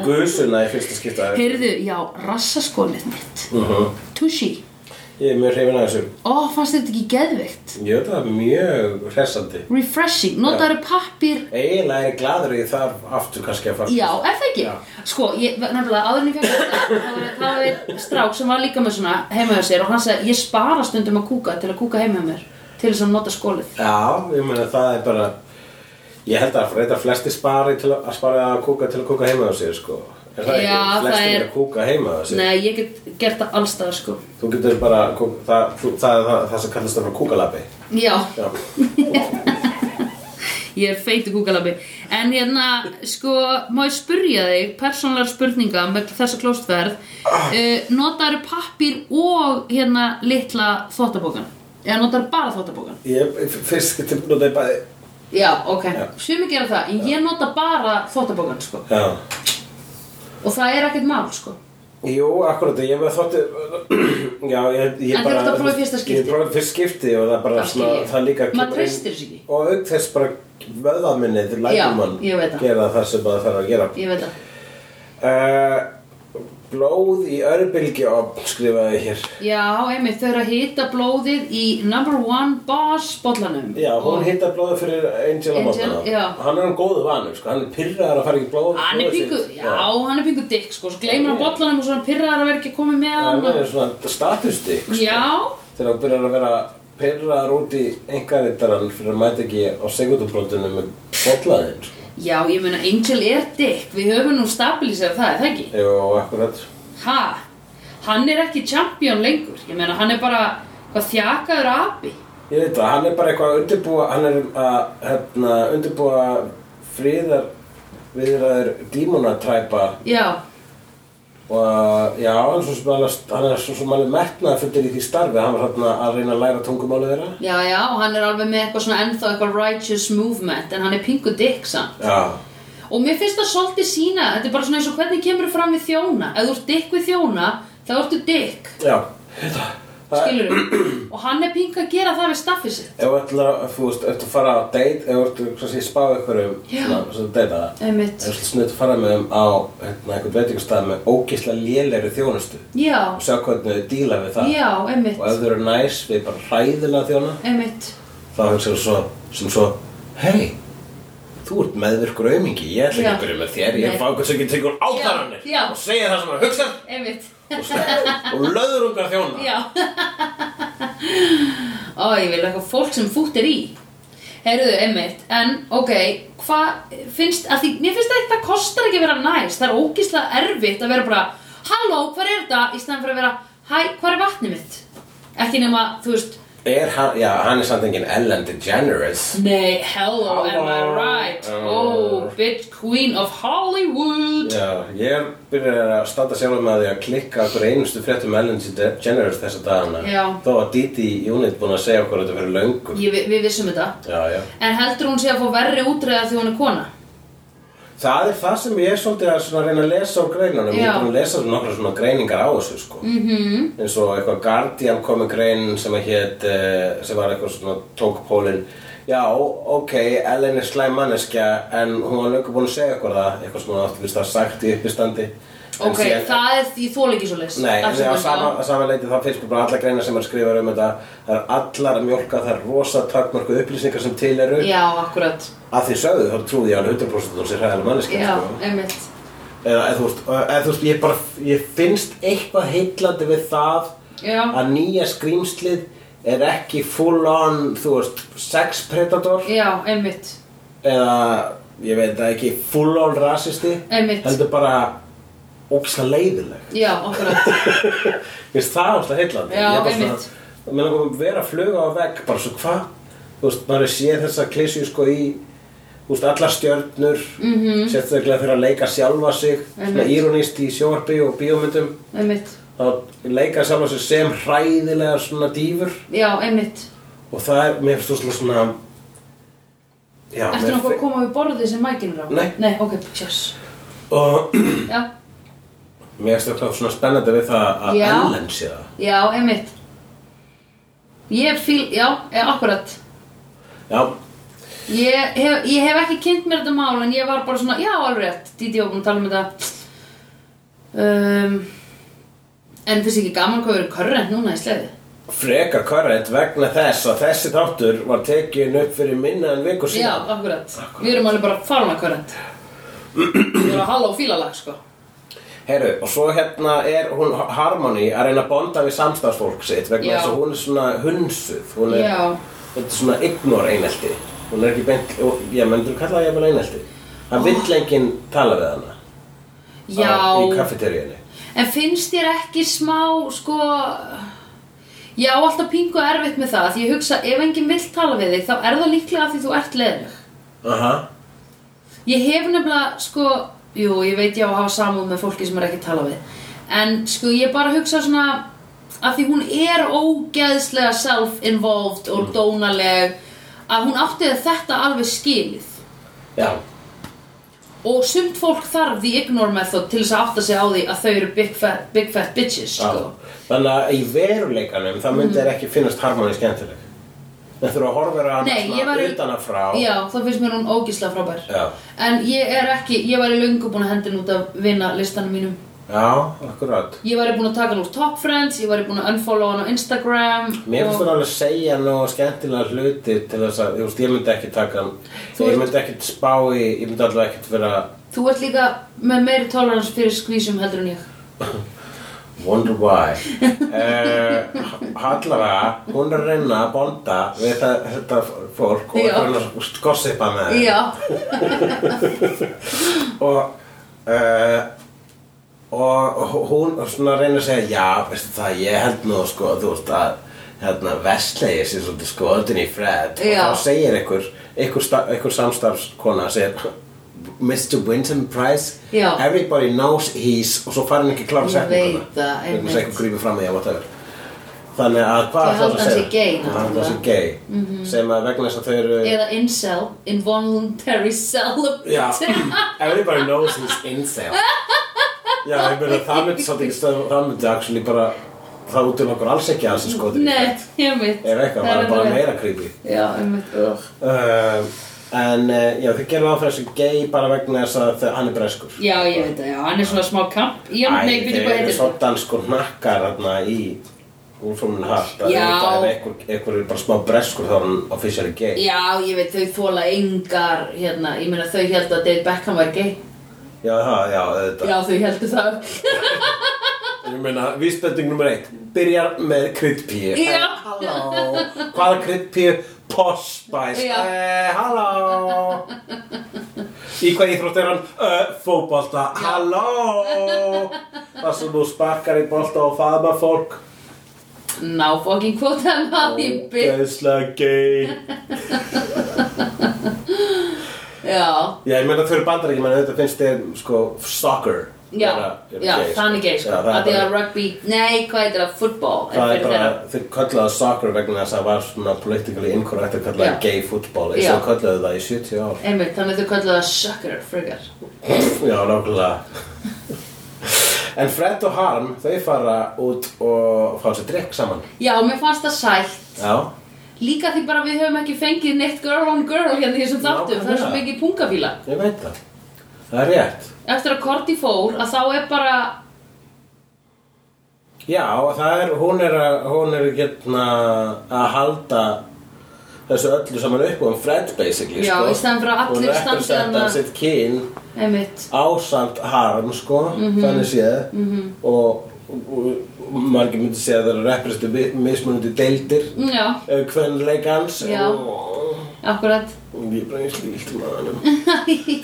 gusuna í fyrsta skiptaði.
Heyrðu, já, rassaskolið mitt
Uh
Tushi
Ég er mjög hrifin að þessu.
Ó, fannst þetta ekki geðveikt
Ég veit að það er mjög hressandi.
Refreshing, notaðu pappir
Eiginlega er ég gladur ég þarf aftur kannski að fara.
Já, er það ekki?
Já.
Sko, ég, nefnilega, áður en ég fekk þetta, þá var- þá var einn strák sem var líka með svona heima hjá sér og hann sagði, ég spara stundum að kúka til að kúka heima hjá mér, til þess að nota skólið.
Já, ég meina það er bara, ég held að reyta flesti spari til að, að spari að kúka til að kúka heima á sér, sko. Er það
Já,
ekki?
það
Flestir
er-
að kúka heima á sér.
Nei, ég get gert það allstaðar, sko.
Þú getur bara, kúk, það, þú, það er það, það sem kallast það frá kúkalabbi.
Já,
Já.
ég er feiti kúkalabi. En hérna, sko, má ég spurja þig persónlegar spurninga með þessa klóstverð.
Ah.
Uh, notaðu pappir og hérna litla þvottabókan? Eða notaðu bara þvottabókan?
Ég, f- fyrst getur búin að það er bæði.
Já, ok.
Já.
Sumi gera það, en ég nota bara þvottabókan, sko.
Já.
Og það er ekkert mál, sko.
Jú, akkurat, ég með þótti, já, ég, ég
En
bara...
þú ert að prófa í fyrsta skipti.
Ég prófaði í fyrsta skipti og það er bara
Það skil
svona,
ég.
það líka...
Maður
kemur inn-
treystir þessu ekki.
Og auk þess bara vöðaminnið,
Já,
lægum hann
ég veit það.
gera það sem það þarf að gera.
Ég veit það.
Uh, blóð í örbylgjófn skrifaði ég hér
Já, einmitt, þau eru að hita blóðið í number one boss bollanum.
Já, hún
Og
hittar blóðið fyrir Angel á
Angel,
mótana
já.
Hann er hann góðu vanur, sko, hann er pyrraðar að fara ekki blóð
Hann er
blóðið
pingu,
sitt.
já, hann er pingu dikk, sko. Svo gleymir hann
Já.
bollanum og svo er hann pyrraðar að vera ekki komið með
Hann
hann.
er svona statustik
Já,
Þegar hann byrjar að vera pyrraðar út í einhverjitaran fyrir að mæta ekki á segundubrótinu með bóllaðin sko.
já, ég meina, Angel er dikk. Við höfum nú stabilisað það, er það ekki?
Jú, akkurat
Ha? hann er ekki champion lengur ég meina hann er bara hvað þjakaður abi
Ég veit það, hann er bara eitthvað að undirbúa, hann er að hérna, undirbúa fríðar viðræður dímonatræpa
já,
og að, já, hann er svo sem alveg, hann er svo sem alveg metnað fyrir í því starfi, hann var hérna að reyna að læra tungumáli þeirra.
já, já og hann er alveg með eitthvað svona ennþá eitthvað righteous movement en hann er pingu dick samt
Já,
og mér finnst það svolítið sína þetta er bara svona eins og hvernig kemur fram við þjóna ef þú ert dick við þjóna, þá ertu dick
já, þetta, það
skilur og hann er pingu að gera það við staffið sitt
Ef þú ætlar að, þú veist, ef þú fara á date, ef þú ætlar að segja spá ykkur um,
Já.
svona, svona data Ef
einmitt,
þú ætlar snudd að fara með um á, hérna, einhvern veitingastað með ógislega lélegri þjónustu
já
og sjá hvernig þau díla við það
já,
og ef
einmitt,
þau eru næs við bara hræðilega þjóna
einmitt
þá hugsaðu svo, sem svo hei, þú ert meðvirkur aumingi ég ætla ekki
Já.
að byrja með þér, ég
Nei.
er fákvæmst ekki tekur ákvarðanir
Já.
og segja það sem hann hugsa
einmitt
og löður ungar þjóna
Já Ó, ég vil eitthvað fólk sem fútt er í Heyrðu, einmitt En, ok, hvað finnst að því, Mér finnst að þetta kostar ekki að vera næs Það er ógislega erfitt að vera bara Halló, hvað er þetta? Í stæðan fyrir að vera Hæ, hvað er vatnið mitt? Ekki nema, þú veist
er hann, já, hann er samt engin Ellen DeGeneres
Nei, hello, am I
Halló.
right?
Já.
Oh, bitch queen of Hollywood
Já, ég er byrjar að standa sjálfur með því að klikka okkur einustu fréttum um Ellen DeGeneres þessa dagana
Já.
Þó að Didi í Unit búin að segja okkur þetta fyrir löngu
ég, við, við vissum þetta
Já, já
En heldur hún sé að fá verri útreða því hún er kona?
Það er það sem ég er svolítið að svona reyna að lesa úr greinunum Ég
Já. Mhm.
er búin að lesa nokkra svona greiningar á þessu sko -hmm. eins og eitthvað Guardian komi grein sem að hét eh, sem var eitthvað svona tók pólinn Já, ok, Ellen er slæm manneskja en hún var löngu búin að segja okkur það eitthvað sem hún átti fyrst að sagt í uppistandi En
Ok,
síðan-
það er því þól ekki svo leys
Nei, en á sama, á sama leiti þá finnst mér bara allar greinar sem er skrifar um þetta Það er allar að mjólka þær rosa takmörku upplýsingar sem til eru
Já, akkurat
Að því sögðu þá trúði ég alveg 100% og sér hæðalega manneskja
Já,
sko.
einmitt
Eða eða þú veist, eða, þú veist ég, bara, ég finnst eitthvað heillandi við það
Já.
Að nýja skrýmslið er ekki full on, þú veist, sex predator
Já, einmitt
Eða, ég veit það ekki, full on rasisti
Einmitt.
Heldur bara ógislega leiðileg
Já, akkurat
Mér finnst það alltaf heillandi
Já,
Ég er bara
einmitt.
svona- Mér langar að vera að fluga á vegg bara svo hvað Þú veist, maður sé þessa klísju sko í Þú veist, allar stjörnur mm -hmm. Sérstaklega fyrir að leika sjálfa sig Svona
Mhm. Einmitt.
írónist í sjóarpi og bíómyndum
Einmitt
Þá leika sjálfa sig sem hræðilega svona dýfur
Já, einmitt
Og það er, mér finnst þú svona svona Já,
Ertu
mér
nokkuð að
finnst
koma við borðið sem mækinn er á?
Nei.
Nei, ok, yes
Og
Já,
mér finnst þetta svona spennandi við það að
Já.
Ellen sé það
já, einmitt Ég fíl, já, eh, akkurat
Já,
Ég hef, ég hef ekki kynnt mér þetta mál en ég var bara svona, já alveg rétt Díti og búin að tala um þetta um, En finnst ekki gaman hvað verið körrent núna í sleði?
frekar korrekt vegna þess að þessi þáttur var tekin upp fyrir minna en viku
Já,
síðan.
akkurat Við erum alveg bara faruna körrent Við erum að halla og fílalag, sko
Heyrðu, og svo hérna er hún Harmony að reyna að bonda við samstagsfólk sitt vegna
Já.
þess að hún er svona hunsuð, hún er,
Já.
þetta er svona ignor einelti. Hún er ekki beint, og- já, menn þú kalla það jafnvel einelti. Hann vill enginn tala við hana á, í
Já,
kaffeteríunni.
en finnst þér ekki smá, sko Já, alltaf pingu erfitt með það Því ég hugsa, ef enginn vill tala við þig Þá er það líklega af því þú ert leðileg
Aha,
Ég hef nefnilega, sko Jú, ég veit ég á að hafa samúð með fólki sem er ekki að tala við En, sko, ég bara hugsa svona Af því hún er ógeðslega self-involved og dónaleg Að hún átti þetta alveg skilið
já,
og sumt fólk þarf the ignore method til þess að átta sig á því að þau eru big fat, big fat bitches
já.
sko. Mhm.
Þannig að í veruleikanum það myndi þér ekki finnast Harmony skemmtileg. Það þurfa að horfa að
Nei, ég var í-
utan að frá.
já, þá finnst mér hún ógísla frábær
Já.
en ég er ekki, ég væri löngu búin að hendin út af vinna listanum mínum
Já, akkurat.
ég væri búin að taka hann úr top friends ég væri búin að unfollow hann á Instagram
Mér finnst
og...
það alveg segja nógu skemmtilega hluti til þess að, þú veist, ég myndi ekki taka hann,
Þú
ég
ert-
myndi ekkert spá í, ég myndi allavega ekkert vera
þú ert líka með meiri tolerance fyrir skvísum heldur en ég
wonder why. uh, allavega, hún er að reyna að bonda við það, þetta fólk og
Já.
er að reyna að gossipa með þeim.
já,
Og uh, eh, og og hún er svona að reyna að segja já, veistu það, ég held nú sko, þú veist að hérna, vestlegi sé svolítið skotin í Fred
Já.
og þá segir einhver, einhver, sta- einhver samstarfskona segir Mr. Winston Price
Já.
everybody knows he's og svo fær hann ekki að klára
Ég
setninguna
veit það,
Vegna þess að
einmitt.
einhver grífur fram í að whatever þannig að hvað
Þau
ætlarðu
halda hann sé gay, Mhm.
Þau halda hann sé gay sem að vegna þess að þau eru
Eða incel, involuntary
Já,
celibate
everybody knows he's incel Já, ég meina það myndi svolítið ekki stöðu Það myndi actually bara Það út til okkur alls ekki alls sko
Nei, ég veit
Ef eitthvað, það er bara meira creepy
Já, ég veit
uh, En uh, já, þau gerum áfram þessu gay bara vegna þess að þau, hann er breskur
Já, ég veit það, já, hann er svona smá kamp Já, nei,
Æ,
byrju
þeir
hvað
eru
heitir
svo danskur nakkar þarna í Úlfrúmin hatt að
Já.
auðvitað Ef einhver, einhver er bara smá breskur þá er hann officially gay
Já, ég veit, þau þóla engar, hérna, ég meina þau held að David Beckham var gay
Já, það, já, auðvitað
Já, þau heldur það
Ég meina, vísbending nummer eitt Byrjar með kryddpíu
Já.
Eh, Halló, hvaða kryddpíu? Posh Spice
Já.
eh, Halló Í hvað íþrótt er hann? Uh, fótbolta Halló Það sem þú sparkar í bolta og faðmar fólk
Ná, fokkin kvótaðum að því byrju
Ógeðslega gay
Já,
Já, ég meina þau eru bandar ekki, menn þetta finnst þér sko soccer
já,
vera- vera
já,
gay, sko.
þannig gay, sko
Já, það er
Að því
bara-
að rugby, nei, hvað heitir það, football
Það er
fyrir
bara,
þeirra.
þeir kölluðu það soccer vegna þess að það var svona politically incorrect að kalla það
Já.
gay football eins og
Já.
þau kölluðu það í 70 ár
Einmitt, þannig að þau kallar það sucker, frugar
Já, nákvæmlega En Fred og Harm, þau fara út og fá sér drikk saman
Já, mér fannst það sælt
Já,
Líka því bara við höfum ekki fengið neitt girl on girl hérna í þessum þáttum, það er svo
Nákvæmlega.
mikið pungafíla.
ég veit það Það er rétt
Eftir að Korti fór að þá er bara,
Já, það er, hún er að, hún er getna að halda þessu öllu saman upp og um Fred basically
Já,
sko.
í staðinn fyrir að allir
Hún
standi hérna.
representa
þarna-
sitt kyn
einmitt,
ásamt harm sko,
Mhm.
þannig séð -hmm. og, og, og margir myndi segja að það eru representu mi- mismunandi deildir
Mm, já,
kvenleikans
Mhm. Já.
og
akkurat.
og ég brengst líkt um aðanum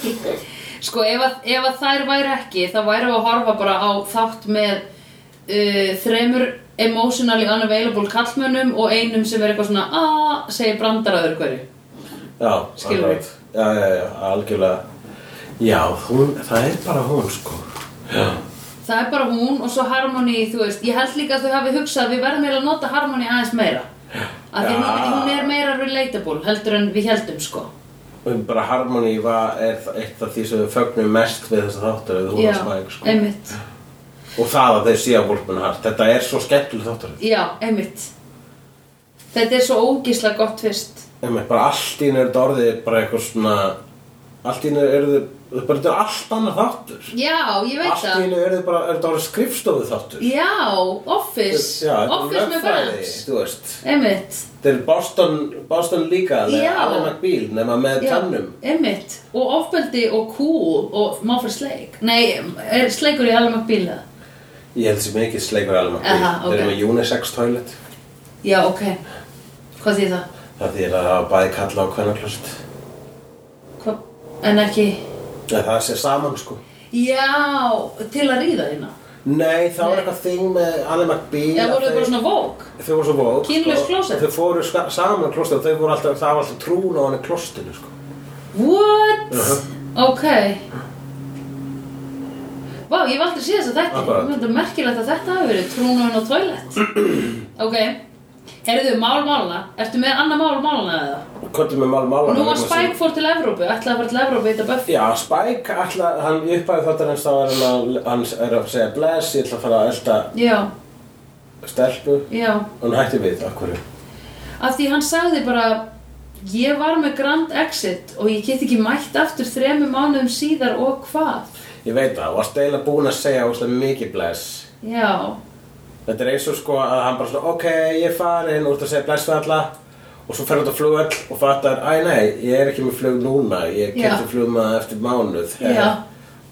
Sko, ef að, ef að þær væri ekki, þá væri við að horfa bara á þátt með uh, þremur emotionally unavailable kallmönnum og einum sem er eitthvað svona aaa, segir brandar að öðru hverju.
Já,
Skilur
akkurat. Já, já, já, algjörlega Já, hún, það er bara hún sko Já
Það er bara hún og svo Harmony, þú veist, ég held líka að þau hafi hugsað að við verðum eiginlega að nota Harmony aðeins meira. Af því hún,
Ja.
hún er meira relatable heldur en við heldum, sko.
Og bara Harmony var, er þa- eitt af því sem við fögnum mest við þessa þáttur eða hún
Já,
var smæk sko
einmitt.
Og það að þau séu að Wolfman Hart, þetta er svo skemmtileg þáttur
Já, einmitt. Þetta er svo ógísla gott fyrst.
Emme, bara allt í einu er þetta orðið bara eitthvað svona Allt í einu er þetta, bara þetta er allt annar þáttur
Já, ég veit
Allt í
það.
einu er þetta bara, er þetta orðið skrifstofu þáttur
Já, Office.
Já, þetta er
office með
lögfræði,
Friends.
Þú veist
Einmitt.
Þetta er Boston, Boston líka, það
Já.
er Alan McBeal, nema með
Já,
tönnum.
einmitt. Og ofbeldi og cool og má fyrir sleik. Nei, er sleikur í alveg bíla?
Ég held sem ekki sleikur Alan McBeal.
Aha, ok.
Þeir eru með unisex toilet.
Já, ok. Hvað þýð það?
Það þýr að hafa bæði kalla á kvennarklust.
Hva? En ekki
Ja, það sé saman, sko.
Já, til að ríða hérna
Nei, það
Nei.
var eitthvað þing með Alan McBeal.
Já,
að
voru þau
þeir-
bara svona vók
Þau voru svo vók.
Kynlaus klósett?
Þau fóru ska- saman í klósett og þau voru alltaf, það var alltaf trún á hann í klóstinu, sko.
What?
Mhm.
Ok Vá, ég hef aldrei séð þess að þetta
Akkurat.
Þetta er merkilegt að þetta hafi verið trúnun og toilet Ok Heyrðu, mál málana Ertu með annað mál málana eða?
Kottum með mál málan.
Nú að Spike fór til Evrópu Ætlaði að fara til Evrópu í þetta Buffy
hérna Já, Spike, alltaf, hann í upphæðu þáttar hans þá er hann að, hann er að segja bless, ég ætla að fara að elda
Já,
stelpu.
já
Og hann hætti við, akkurru.
Af því hann sagði bara Ég var með grand exit Og ég get ekki mætt aftur þremur mánuðum síðar og hvað
Ég veit það, og varst eiginlega búin að segja óslega mikið bless.
Já,
Þetta er eins og sko að hann bara svona, ok, ég er farin, út að segja bless við alla og svo fer hann út á flugöll og fattar, æ nei, ég er ekki með flug núna, ég
Já.
kemti flug með það eftir mánuð.
Já.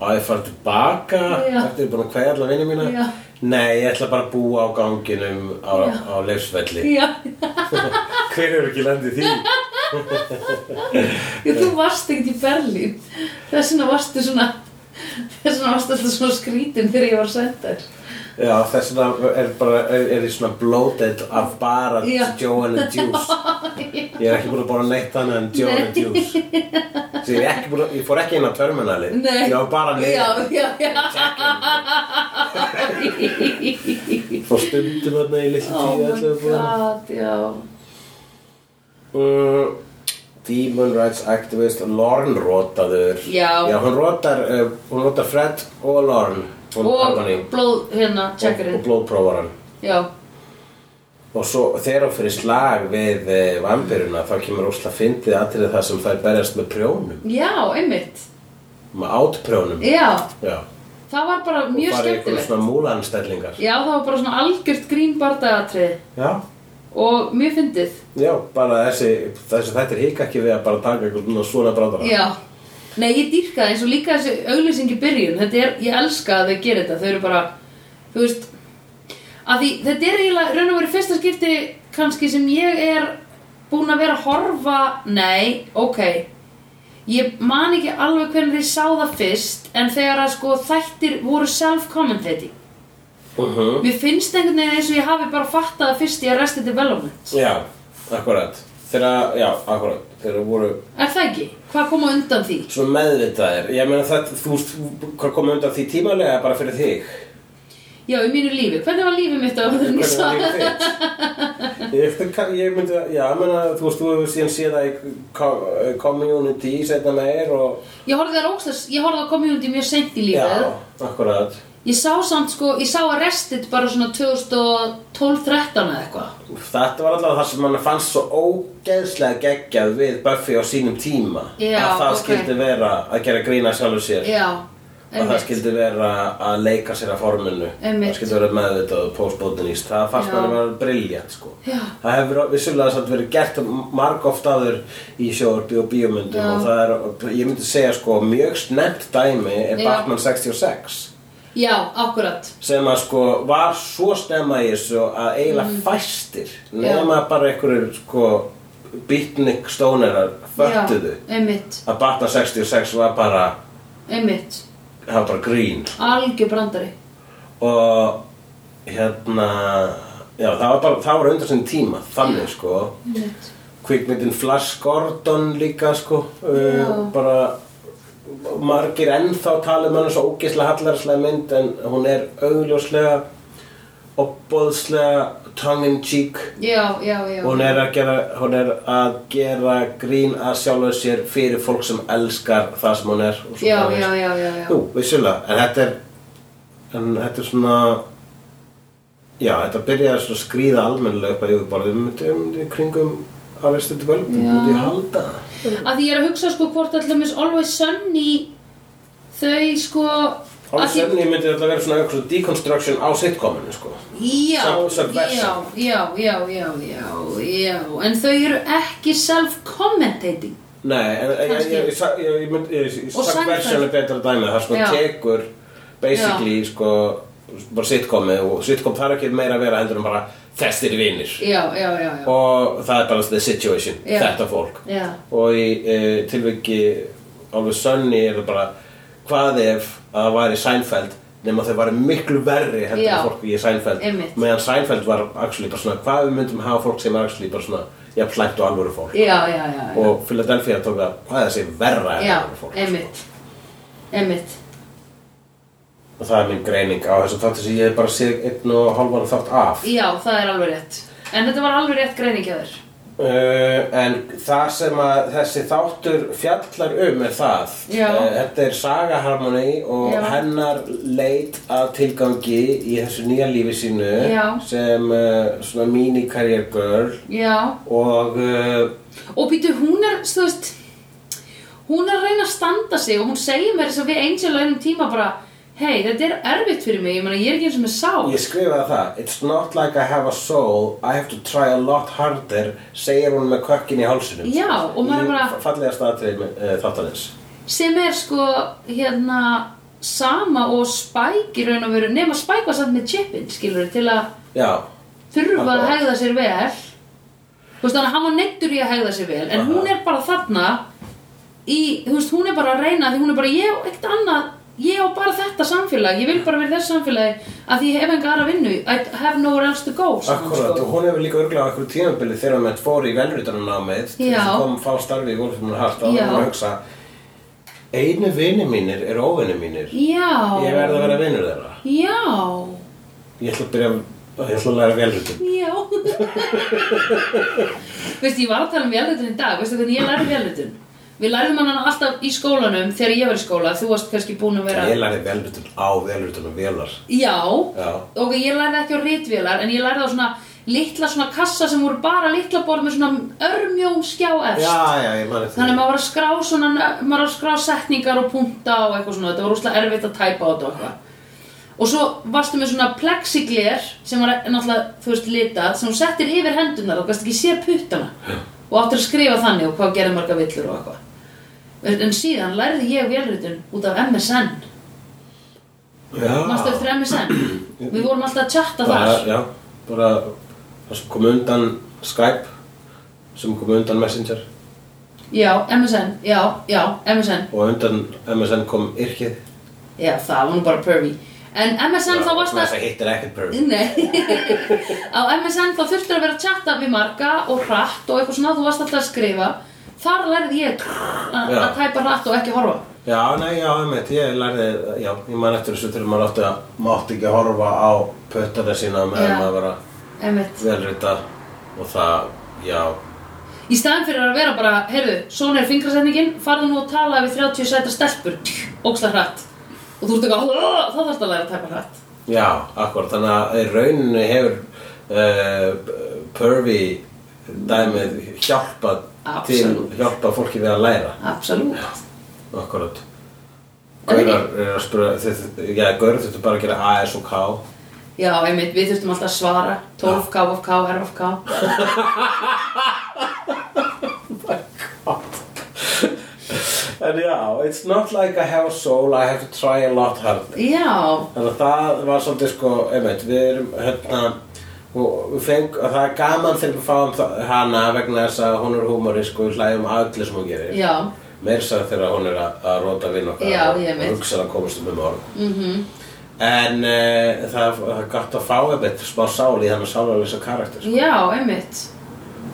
Og ég fara tilbaka,
Já.
eftir ég er búin að kveðja alla vinni mína.
Já.
Nei, ég ætla bara að búa á ganginum á,
Já.
á leifsvelli.
já
Hver er ekki landið því?
Já, þú varst ekkert í Berlín Þess vegna varstu svona Þess vegna varst alltaf svona skrítin þegar ég var sendur.
Já, þess vegna er bara, er, er ég svona bloated af bara
Já.
Joan and Juice. Ég er ekki búin að bóra neitt annað en Joan and Juice. Svo ég, er ekki búin að, ég fór ekki inn á terminali.
Nei.
Ég var bara
Já,
niður.
já, já.
Fór stundum þarna í litlu
Oh
tíu
my
allavega búin.
god, já.
Mm, Demon Rights Activist Lorne rótaður
Já.
Já, hún rótar, uh, hún rótar Fred og Lorne Hún
Og
Harmony.
blóð, hérna,
og, og
checkerinn.
blóðprófaran
Já.
Og svo þegar hún fyrir slag við uh, vampiruna þá kemur ósla fyndið aðrið það sem þær berjast með prjónum
Já, einmitt.
með átprjónum
Já,
Já.
það var bara mjög
bara einhverjum
skemmtilegt.
svona múlanstellingar
Já, það var bara svona algjört grínbardagatrið
Já,
og mjög fyndið.
já, bara þessi, þessi þættir hika ekki við að bara taka einhvern svona brátara
Já, nei ég dýrka það eins og líka þessi auglýsing í byrjun þetta er, ég elska að þau gera þetta þau eru bara, þú veist að því, þetta er eiginlega, raun og verið fyrsta skipti kannski sem ég er búin að vera að horfa nei, ok ég man ekki alveg hvernig ég sá það fyrst en þegar að sko þættir voru self-commentating
uh -huh.
mér finnst einhvern veginn eins og ég hafi bara fattað það fyrst í Arrested Development
Já, akkurat Þegar, já, akkurat Þegar voru
er það ekki? Hvað kom á undan því?
Svona meðvitaðir, ég meina það, þú veist, hvað komið undan því tímalega bara fyrir þig?
Já, í mínu lífi, hvernig var lífið mitt á öðrun í
Hvernig
svar?
var líf þitt? Ég, það- ég myndi að, já, ég meina, þú veist, þú hefur síðan séð það í co- community, setna meir og,
Ég horfði þar ógstast, ég horfði á community mjög seint í
já,
lífið.
akkurat,
Ég sá samt sko, ég sá Arrested bara svona 2012-13 eða eitthvað.
þetta var alltaf það sem mann fannst svo ógeðslega geggjað við Buffy á sínum tíma,
Já,
að það
ok.
skildi vera að gera grína sjálfur sér.
Já,
að það
einmitt.
skildi vera að leika sér að forminu
Einmitt.
það skildi vera meðvitað og postmodernist það fannst
Já.
manni vera briljant sko
Já.
það hefur vissulega samt verið gert marg oft aður í sjóorbi og bíómyndum
Já.
og það er, ég myndi segja sko mjög snemmt dæmi er
Já.
Batman 66
Já, akkurat.
sem að sko var svo snemma í þessu að eiginlega
Mm.
fæstir nema bara einhverjur sko bitnik stónerar föttuðu
Já, einmitt,
að Batman 66 var bara
einmitt.
það var bara grín
Algjör brandari.
og hérna já, það var bara, það var undan sinni tíma þannig sko
Einmitt.
kvikmyndin Flash Gordon líka sko
Já.
uh, bara margir ennþá tala um hann svo ógeðslega hallarslega mynd en hún er augljóslega opbóðslega tongue in cheek
Já, já, já.
hún er, að gera, hún er að gera grín að sjálfa sér fyrir fólk sem elskar það sem hún er og svo
Já,
framvegis.
já, já, já, já.
Jú, vissulega, en þetta er en þetta er svona já, þetta byrjaði svona að skríða almennilega upp að yfirborðum um, um, kringum Arrested Development,
Já.
myndi ég halda
Að því ég er að hugsa sko hvort allamis Always Sunny þau sko... að
Alveg
því-
sem ég myndi þetta vera svona eitthvað deconstruction á sitcominu, sko
Já,
Self-subversion.
já, já, já, já, já, já, en þau eru ekki self-commentating.
Nei, en en- ég,
Kannski.
ég, ég, sa- ég, ég myndi ég, ég,
Og
sagt
Seinfeld.
versjón er betra dæmi, það sko
Já.
tekur basically, sko bara sitcomið og sitcom þarf ekki meira að vera heldur en bara þessir vinir
Já, já, já, já,
og það er bara the situation,
Já.
þetta fólk
já,
og í e, tilviki alveg sönni er það bara hvað ef að það væri Seinfeld nema þau væri miklu verri heldur
Já.
en fólk í Seinfeld
Einmitt.
meðan Seinfeld var actually bara svona hvað við myndum hafa fólk sem er actually bara svona já, plæmt og alvöru fólk
já, já, já, já,
og Philadelphia tók það hvað þessi verra en
já,
alvöru fólk sko.
einmitt, einmitt,
og það er minn greining á þessu þáttu sem ég hef bara séð einn og hálfan þátt af
já, það er alveg rétt. En þetta var alveg rétt greining hjá þér.
Uh, en það sem að þessi þáttur fjallar um er það
Já.
Eh, Þetta er Saga Harmony og
Já.
hennar leit að tilgangi í þessu nýja lífi sínu
Já.
sem uh, svona mini career girl
Já,
og uh,
og býtu, hún er, þú veist, hún er að reyna að standa sig og hún segir mér þess að við Angel á einum tíma bara, hei, þetta er erfitt fyrir mig, ég meina, ég er ekki eins og með sál.
ég skrifaði það It's not like I have a soul, I have to try a lot harder segir hún með kökkin í hálsinum
Já, og maður er bara-
Fallegast aðtrið uh, þáttanins
sem er sko hérna sama og Spike í raun og veru nema Spike var samt með chipin skilur til að
Já,
þurfa að
Akkurat.
hegða sér vel þú veist þannig að hann var neittur í að hegða sér vel en
Aha.
hún er bara þarna í, þú veist hún er bara að reyna því hún er bara ég á ekkert annað ég á bara þetta samfélag, ég vil bara vera í þessu samfélagi að ég hef enga aðra vinnu, I have nowhere else to go svona,
Akkurat, og hún hefur líka örgulega á einhverju tímabili þegar hann fór í velritarunámið til þess
Já.
að kom að fá starfi í Wolfram Hart og
Já.
hann var að hugsa einu vini mínir eru óvini mínir
Já,
ég verð að vera vinur þeirra
já,
ég ætla að byrja að ég ætla að læra velritun
já Veistu, ég var að tala um velritun í dag, veistu hvernig ég lærði velritun? Við lærðum hann alltaf í skólanum þegar ég var í skóla, þú varst kannski búin að vera
ég lærði velritun á velritun og velar
Já,
Já.
og ég lærði ekki á rítvélar en ég lærði á svona litla svona kassa sem voru bara litla borð með svona örmjóm skjá efst
já, já, ég mani
Þannig að maður var að skrá svona, maður var að skrá setningar og punta og eitthvað svona, þetta var rúslega erfitt að tæpa á þetta og eitthvað. Og svo varstu með svona plexigler sem var náttúrulega, þú veist, litað, sem hún settir yfir hendunar og gæst ekki séð puttana. Og áttir að skrifa þannig og hvað gerði marga villur og eitthvað. En- En síðan lærði ég vélritun út af MSN. Manstu
já,
eftir MSN? Við vorum alltaf að chatta
bara,
þar.
já, bara það sem kom undan Skype sem kom undan Messenger
Já, MSN, já, já, MSN.
og undan MSN kom Yrkið
Já, það var nú bara pervy. En MSN þá varst að...
það hittir ekkert Perry
Nei, á MSN þá þurftir að vera að chatta við marga og hratt og eitthvað svona, þú varst alltaf að skrifa Þar lærði ég að
Já.
að tæpa hratt og ekki horfa
Já, nei, já, einmitt, ég lærði, já, ég man eftir þessu þegar maður átti að mátti ekki horfa á pötana sína meðan
Já.
maður var
Einmitt.
að velrita og það, já,
Í staðan fyrir að vera bara, heyrðu, svona er fingrasetningin, farðu nú að tala við 30 sæta stelpur, óksla hratt Og þú ert eitthvað, "Ugh", þá þarfst að læra að tæpa hratt
já, akkur, þannig að í rauninni hefur uh, pervi dæmið hjálpað
Absolutt.
til, hjálpað fólki við að læra,
Absolutt
akkurat.
En ekki-
Gaurar er að spura, þetta, já, gaurar þetta bara að gera A, S og K.
Já, einmitt, við þurftum alltaf að svara 12 KFK, RFK
En já, it's not like I have a soul, I have to try a lot harder.
Já,
Þannig að það var svolítið sko, einmitt, við erum hérna og við feng, að það er gaman þegar við fáum þa- hana vegna þess að hún er húmórisk og við hlægjum að öllu sem hún gerir.
já,
Meir sér þegar hún er að, að róta vinn okkar
Já,
og
ég veit. Mhm.
hugsa að komast um um orð. Mm -hmm. En uh, það, það er gott að fá einmitt smá sál í þannig sálarleysa karakter. sko.
já, einmitt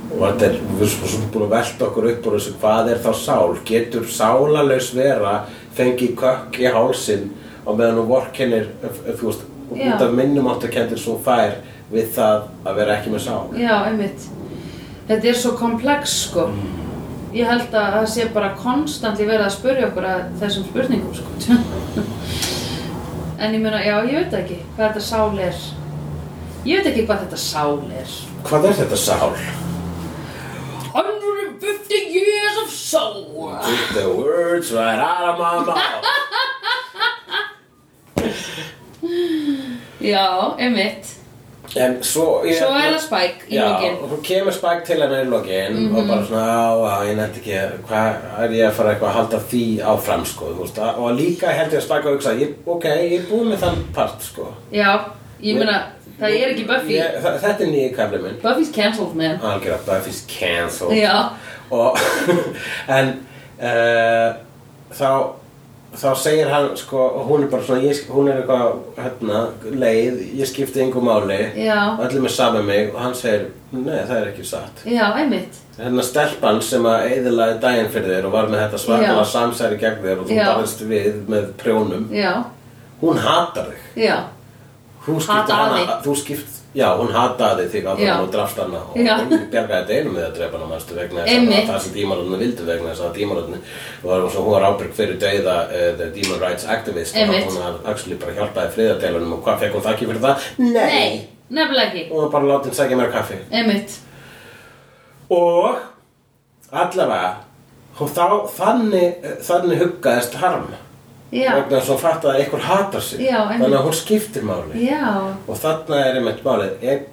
Og þetta er, við erum svo búin að velta okkur upp úr þessu, hvað er þá sál? Getur sálarlaus vera fengið kökk í hálsin á meðan hún vorkennir, ef- ef þú veist,
Já.
út af minnum áttakendir svo fær við það að vera ekki með sál?
Já, einmitt. Þetta er svo komplex, sko.
Mm.
Ég held að það sé bara konstantli verið að spurja okkur að þessum spurningum, sko. en ég meina, já, ég veit ekki hvað þetta sál er. Ég veit ekki hvað þetta sál er.
Hvað er þetta sál?
150 years of soul.
Took the words right out of my mouth.
Já, einmitt.
En svo... ég-
Svo er það spæk í
Já,
lokin. Mhm.
og hún kemur spæk til hennar í lokin og bara svona, á, á, ég nefndi ekki, hvað er ég að fara eitthvað að halda því áfram, sko, þú veist, að- og líka held ég að spæk og hugsa, ég, ok, ég er búið með þann part, sko.
Já, ég meina, það er ekki Buffy.
Ég, þa- þetta er nýju kafli minn.
Buffy's cancelled, man.
Algjörða, Buffy's cancelled.
Já,
Og, en, uh, þá, þá segir hann, sko, og hún er bara svona, ég, hún er eitthvað, hérna, leið, ég skipti yngu máli,
Já.
öllum er saman mig, og hann segir, nei, það er ekki satt.
já, einmitt.
Hérna stelpan sem að eiðilaði daginn fyrir þér og var með þetta svakala
Já.
samsæri gegn þér og þú
Já.
barðist við með prjónum
Já,
hún hatar þig
já,
þú skiptir
Hataði.
hana þú skipt, já, hún hataði þig að
Já.
hann og drafst hana og
Já.
hún bjargaði þetta einum með að drepa hana mæstu vegna þess að
Einmitt.
það- það sem dímalunni vildu vegna þess að dímalunni var svo hún var ábyrg fyrir dauða uh, the Demon Rights Activist og
Einmitt.
hún hafði actually bara hjálpaði friðadeilunum og hvað fekk hún þakki fyrir það?
Nei, nefnilega ekki.
og hún var bara látið að segja mér kaffi
Einmitt.
og allavega og þá, þannig, þannig huggaðist harm
Já,
vegna þess að hún fattaði að einhver hatar sig
Já, einmitt.
þannig að hún skiptir máli
já.
og þarna er einmitt málið ég,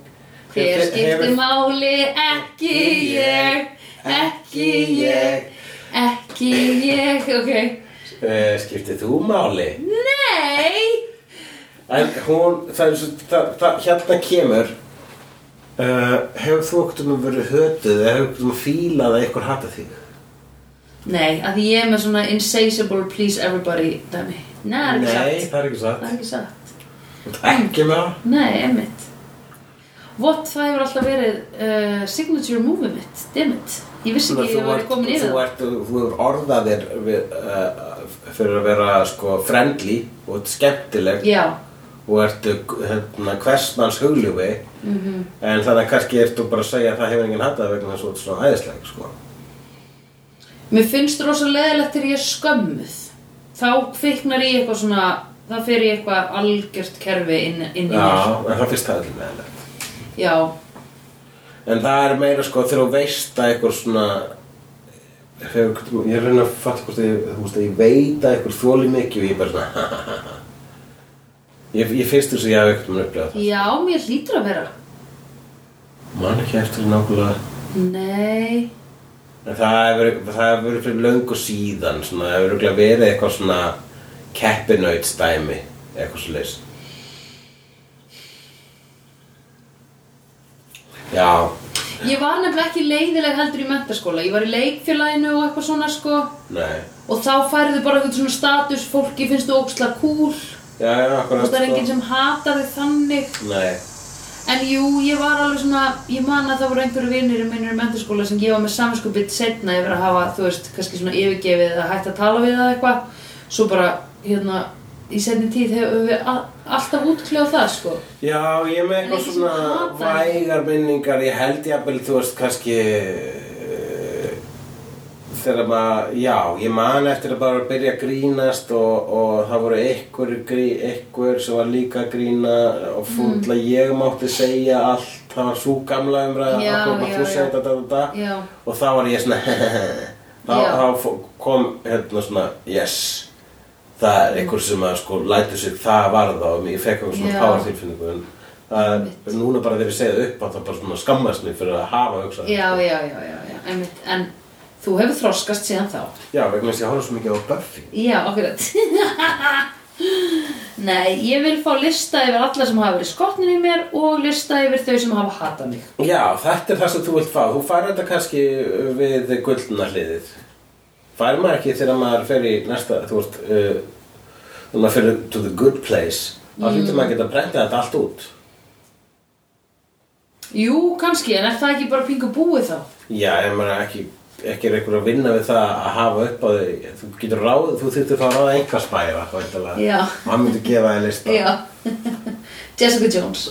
Hver
hefur-
skiptir máli? Ekki ég, ekki ég, ekki ég, ok.
Eh, skiptir þú máli
Nei!
en hún, það er svo það, það, hérna kemur uh, hefur þú okkur um verið hötuð eða hefur okkur um fílað að einhver hata þig
Nei, af því ég er með svona insatiable please everybody dæmi. Nei, það er ekki
Nei,
satt.
það er
Það
ekki satt.
er ekki satt.
Ekki með það.
Nei, emmitt. What, það hefur alltaf verið uh, signature movie mitt, dammit. Ég vissi ekki að ég var komin yfir
þú
það.
ert, þú ert orðaðir við, uh, fyrir að vera sko friendly og skemmtileg
Já,
og ertu hérna hversmanns hugljúfi
Mhm.
en þannig að kannski ertu bara að segja að það hefur enginn hattað vegna þess að þú ert svona hæðisleg sko.
mér finnst rosa leðilegt þegar ég er skömmuð. Þá kviknar ég eitthvað svona, þá fer ég eitthvað algjört kerfi inn, inn í
Já,
mér.
en það finnst það allir með þetta.
Já,
En það er meira sko þegar þú veist að einhver svona Þegar, ég er að reyna að fatta hvort ég, þú veist, að ég veit að einhver þóli mikið og ég er bara svona Ég, ég finnst þess að ég hafi eitthvað mér upplegað
já, mér hlýtur að vera.
það Man ekki eftir því nákvæmlega
Nei,
En það hefur það hefur verið fyrir löngu síðan svona, það hefur örugglega verið eitthvað svona keppinautsdæmi eitthvað svo leys Já,
ég var nefnilega ekki leiðileg heldur í mentaskóla. Ég var í leikfélaginu og eitthvað svona sko.
nei
Og þá færðu bara eitthvað svona status, fólki finnst þú ógslag cool.
Já, já,
Þú
akkurat sko.
veist, það er enginn sem hatar þig þannig.
Nei
En jú, ég var alveg svona, ég man að það voru einhverju vinnir minnir í mentaskóla sem ég var með saminskupið setna yfir að hafa, þú veist, kannski svona yfirgefið eða hægt að tala við það eitthvað. Svo bara, hérna, í setni tíð hefur við a- alltaf útkljáð það, sko.
Já, ég er með
En
eitthvað
ekki sem
svona
hatar.
vægar minningar, ég held jafnvel, þú veist, kannski eh, þegar maður, já, ég man eftir að bara byrja að grínast og, og það voru einhver, grí- einhver sem var líka að grína og
Mm.
fúndla ég mátti segja allt, það var svo gamla umræða,
Já,
það
já,
þú
já.
segja þetta, þetta, þetta
Já,
og þá var ég svona þá,
Já.
þá fó- kom hérna svona yes það er einhver sem að sko lætur sig það varða og ég fekk eitthvað svona
Já.
power tilfinningu en það
Einmitt.
er núna bara þegar ég segið upp að það bara svona skammast mig fyrir að hafa hugsað
já, já, já, já, já, einmitt. En þú hefur þroskast síðan þá.
já vegna þess að ég horfði svo mikið á Buffy
Já, akkurat Nei, ég vil fá lista yfir alla sem hafa verið skotnin í mér og lista yfir þau sem hafa hatað mig
já þetta er það sem þú vilt fá þú fær þetta kannski uh, við guldna hliðið fær maður ekki þegar maður fer í næsta þú veist uh, þegar maður fer to the good place þá mm. hlýtur maður að geta brendið þetta allt út
Jú, kannski, en er það ekki bara pingu búið þá?
Já, ég meina ekki, ekki er einhver að vinna við það að hafa upp á þig Þú getur ráð, þú þurftir þá að ráða einhver spæfa væntanlega.
Já.
Og hann myndi gefa þig lista
Jessica Jones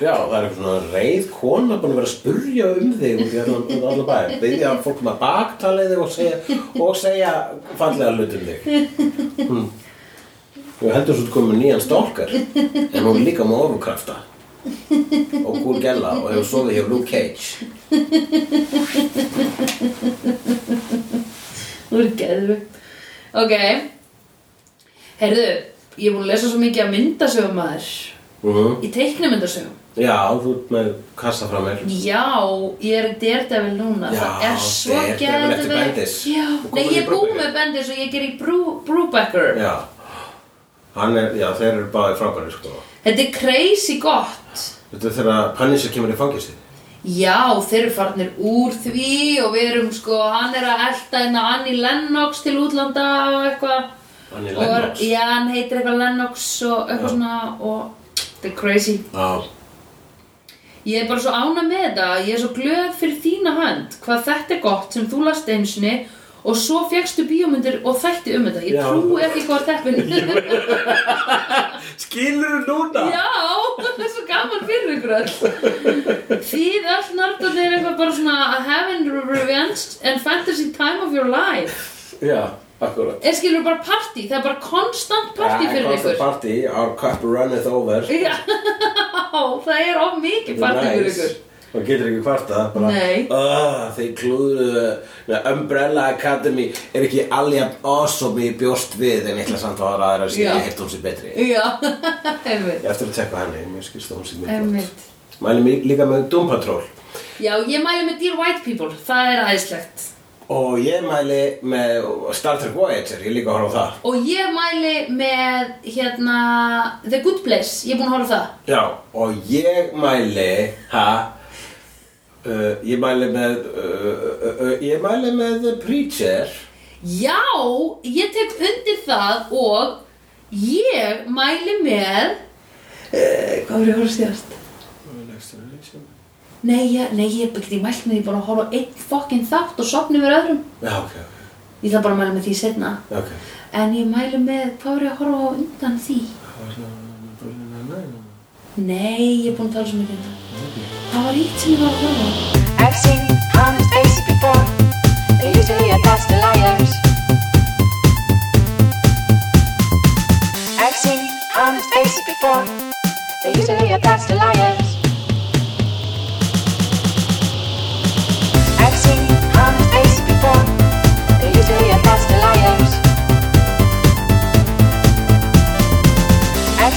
Já, það er einhver svona reið kona búin að vera að spurja um þig út í allan, út allan bæ Byggja að fólk maður baktala þig og segja, og segja fallega hlut um þig hm. Ég heldur svo þú komið með nýjan stalker En hún er líka með orukrafta Og gúr gella og hefur sofið hjá Luke Cage
Nú er geðu Ok Herðu, ég er búin að lesa svo mikið af myndasögum aður
Mhm.
Í teiknumyndasögum
Já, þú ert með kassa frá mér
Já, ég er í Daredevil núna
Já,
Það er svo
Daredevil eftir
geðveikt.
Bendis.
Já,
Og
nei, ég
komið í
er búin
Brubaker.
með Bendis og ég ger í Bru- Brubaker
Já Hann er, já, þeir eru báðið frábæri sko
Þetta er crazy gott.
Þetta er þegar Punisher kemur í fangisti
Já, þeir eru farnir úr því og við erum sko, hann er að elta hérna Annie Lennox til útlanda og eitthvað.
Annie
Og er-
Lennox?
Já, hann heitir eitthvað Lennox og eitthvað
Já.
svona og þetta er crazy.
Já
Ég er bara svo ána með þetta, ég er svo glöð fyrir þína hönd, hvað þetta er gott sem þú last einsinni og svo fegstu bíómyndir og þætti um þetta. Ég
Já.
trúi ekki hvað þeppin.
Skilur þú núna?
Já, það er svo gaman fyrir ykkur öll Þið öll nartarnir er eitthvað bara svona a heaven revenge and fantasy time of your life
Já, akkurat
Er skilur bara party, það er bara konstant party fyrir ykkur
Party, our cup runneth over
Já, það er of mikið party fyrir ykkur
Það getur ekki kvarta bara,
Nei.
"Ah, Þeir klúðuðu með Umbrella Academy er ekki alveg awesome í bjóst við en ég ætla samt að aðra að sé
Já.
ég hitt hún sér betri
Já, einmitt
Ég á eftir að tekka henni, mér skilst að hún sér mjög flott
Einmitt
Mælum mig líka með Doom Patrol
Já, ég mæli með Dear White People, það er æðislegt
Og ég mæli með Star Trek Voyager, ég líka að horfa á það.
Og ég mæli með, hérna, The Good Place, ég er búin að horfa á það
Já, og ég mæli, ha, uh, ég mæli með, uh, uh, uh, ég mæli með The Preacher
Já, ég tek undir það og ég mæli með uh, Hvað voru ég að horfa síðast?
Next Generation.
Nei, ég, nei, ég get ekki mælt með því bara að horfa á einn fokkin þátt og sopna yfir öðrum
Já, ok, ok.
Ég ætla bara að mæla með því setna
Ok.
En ég mæli með, hvað voru ég að horfa á undan því? Nei, ég er búin að tala svo mikið um það Það var eitt sem ég var að horfa á
I've seen honest faces before. They're usually a past liars. I've seen honest faces before. They're usually a past liars. I've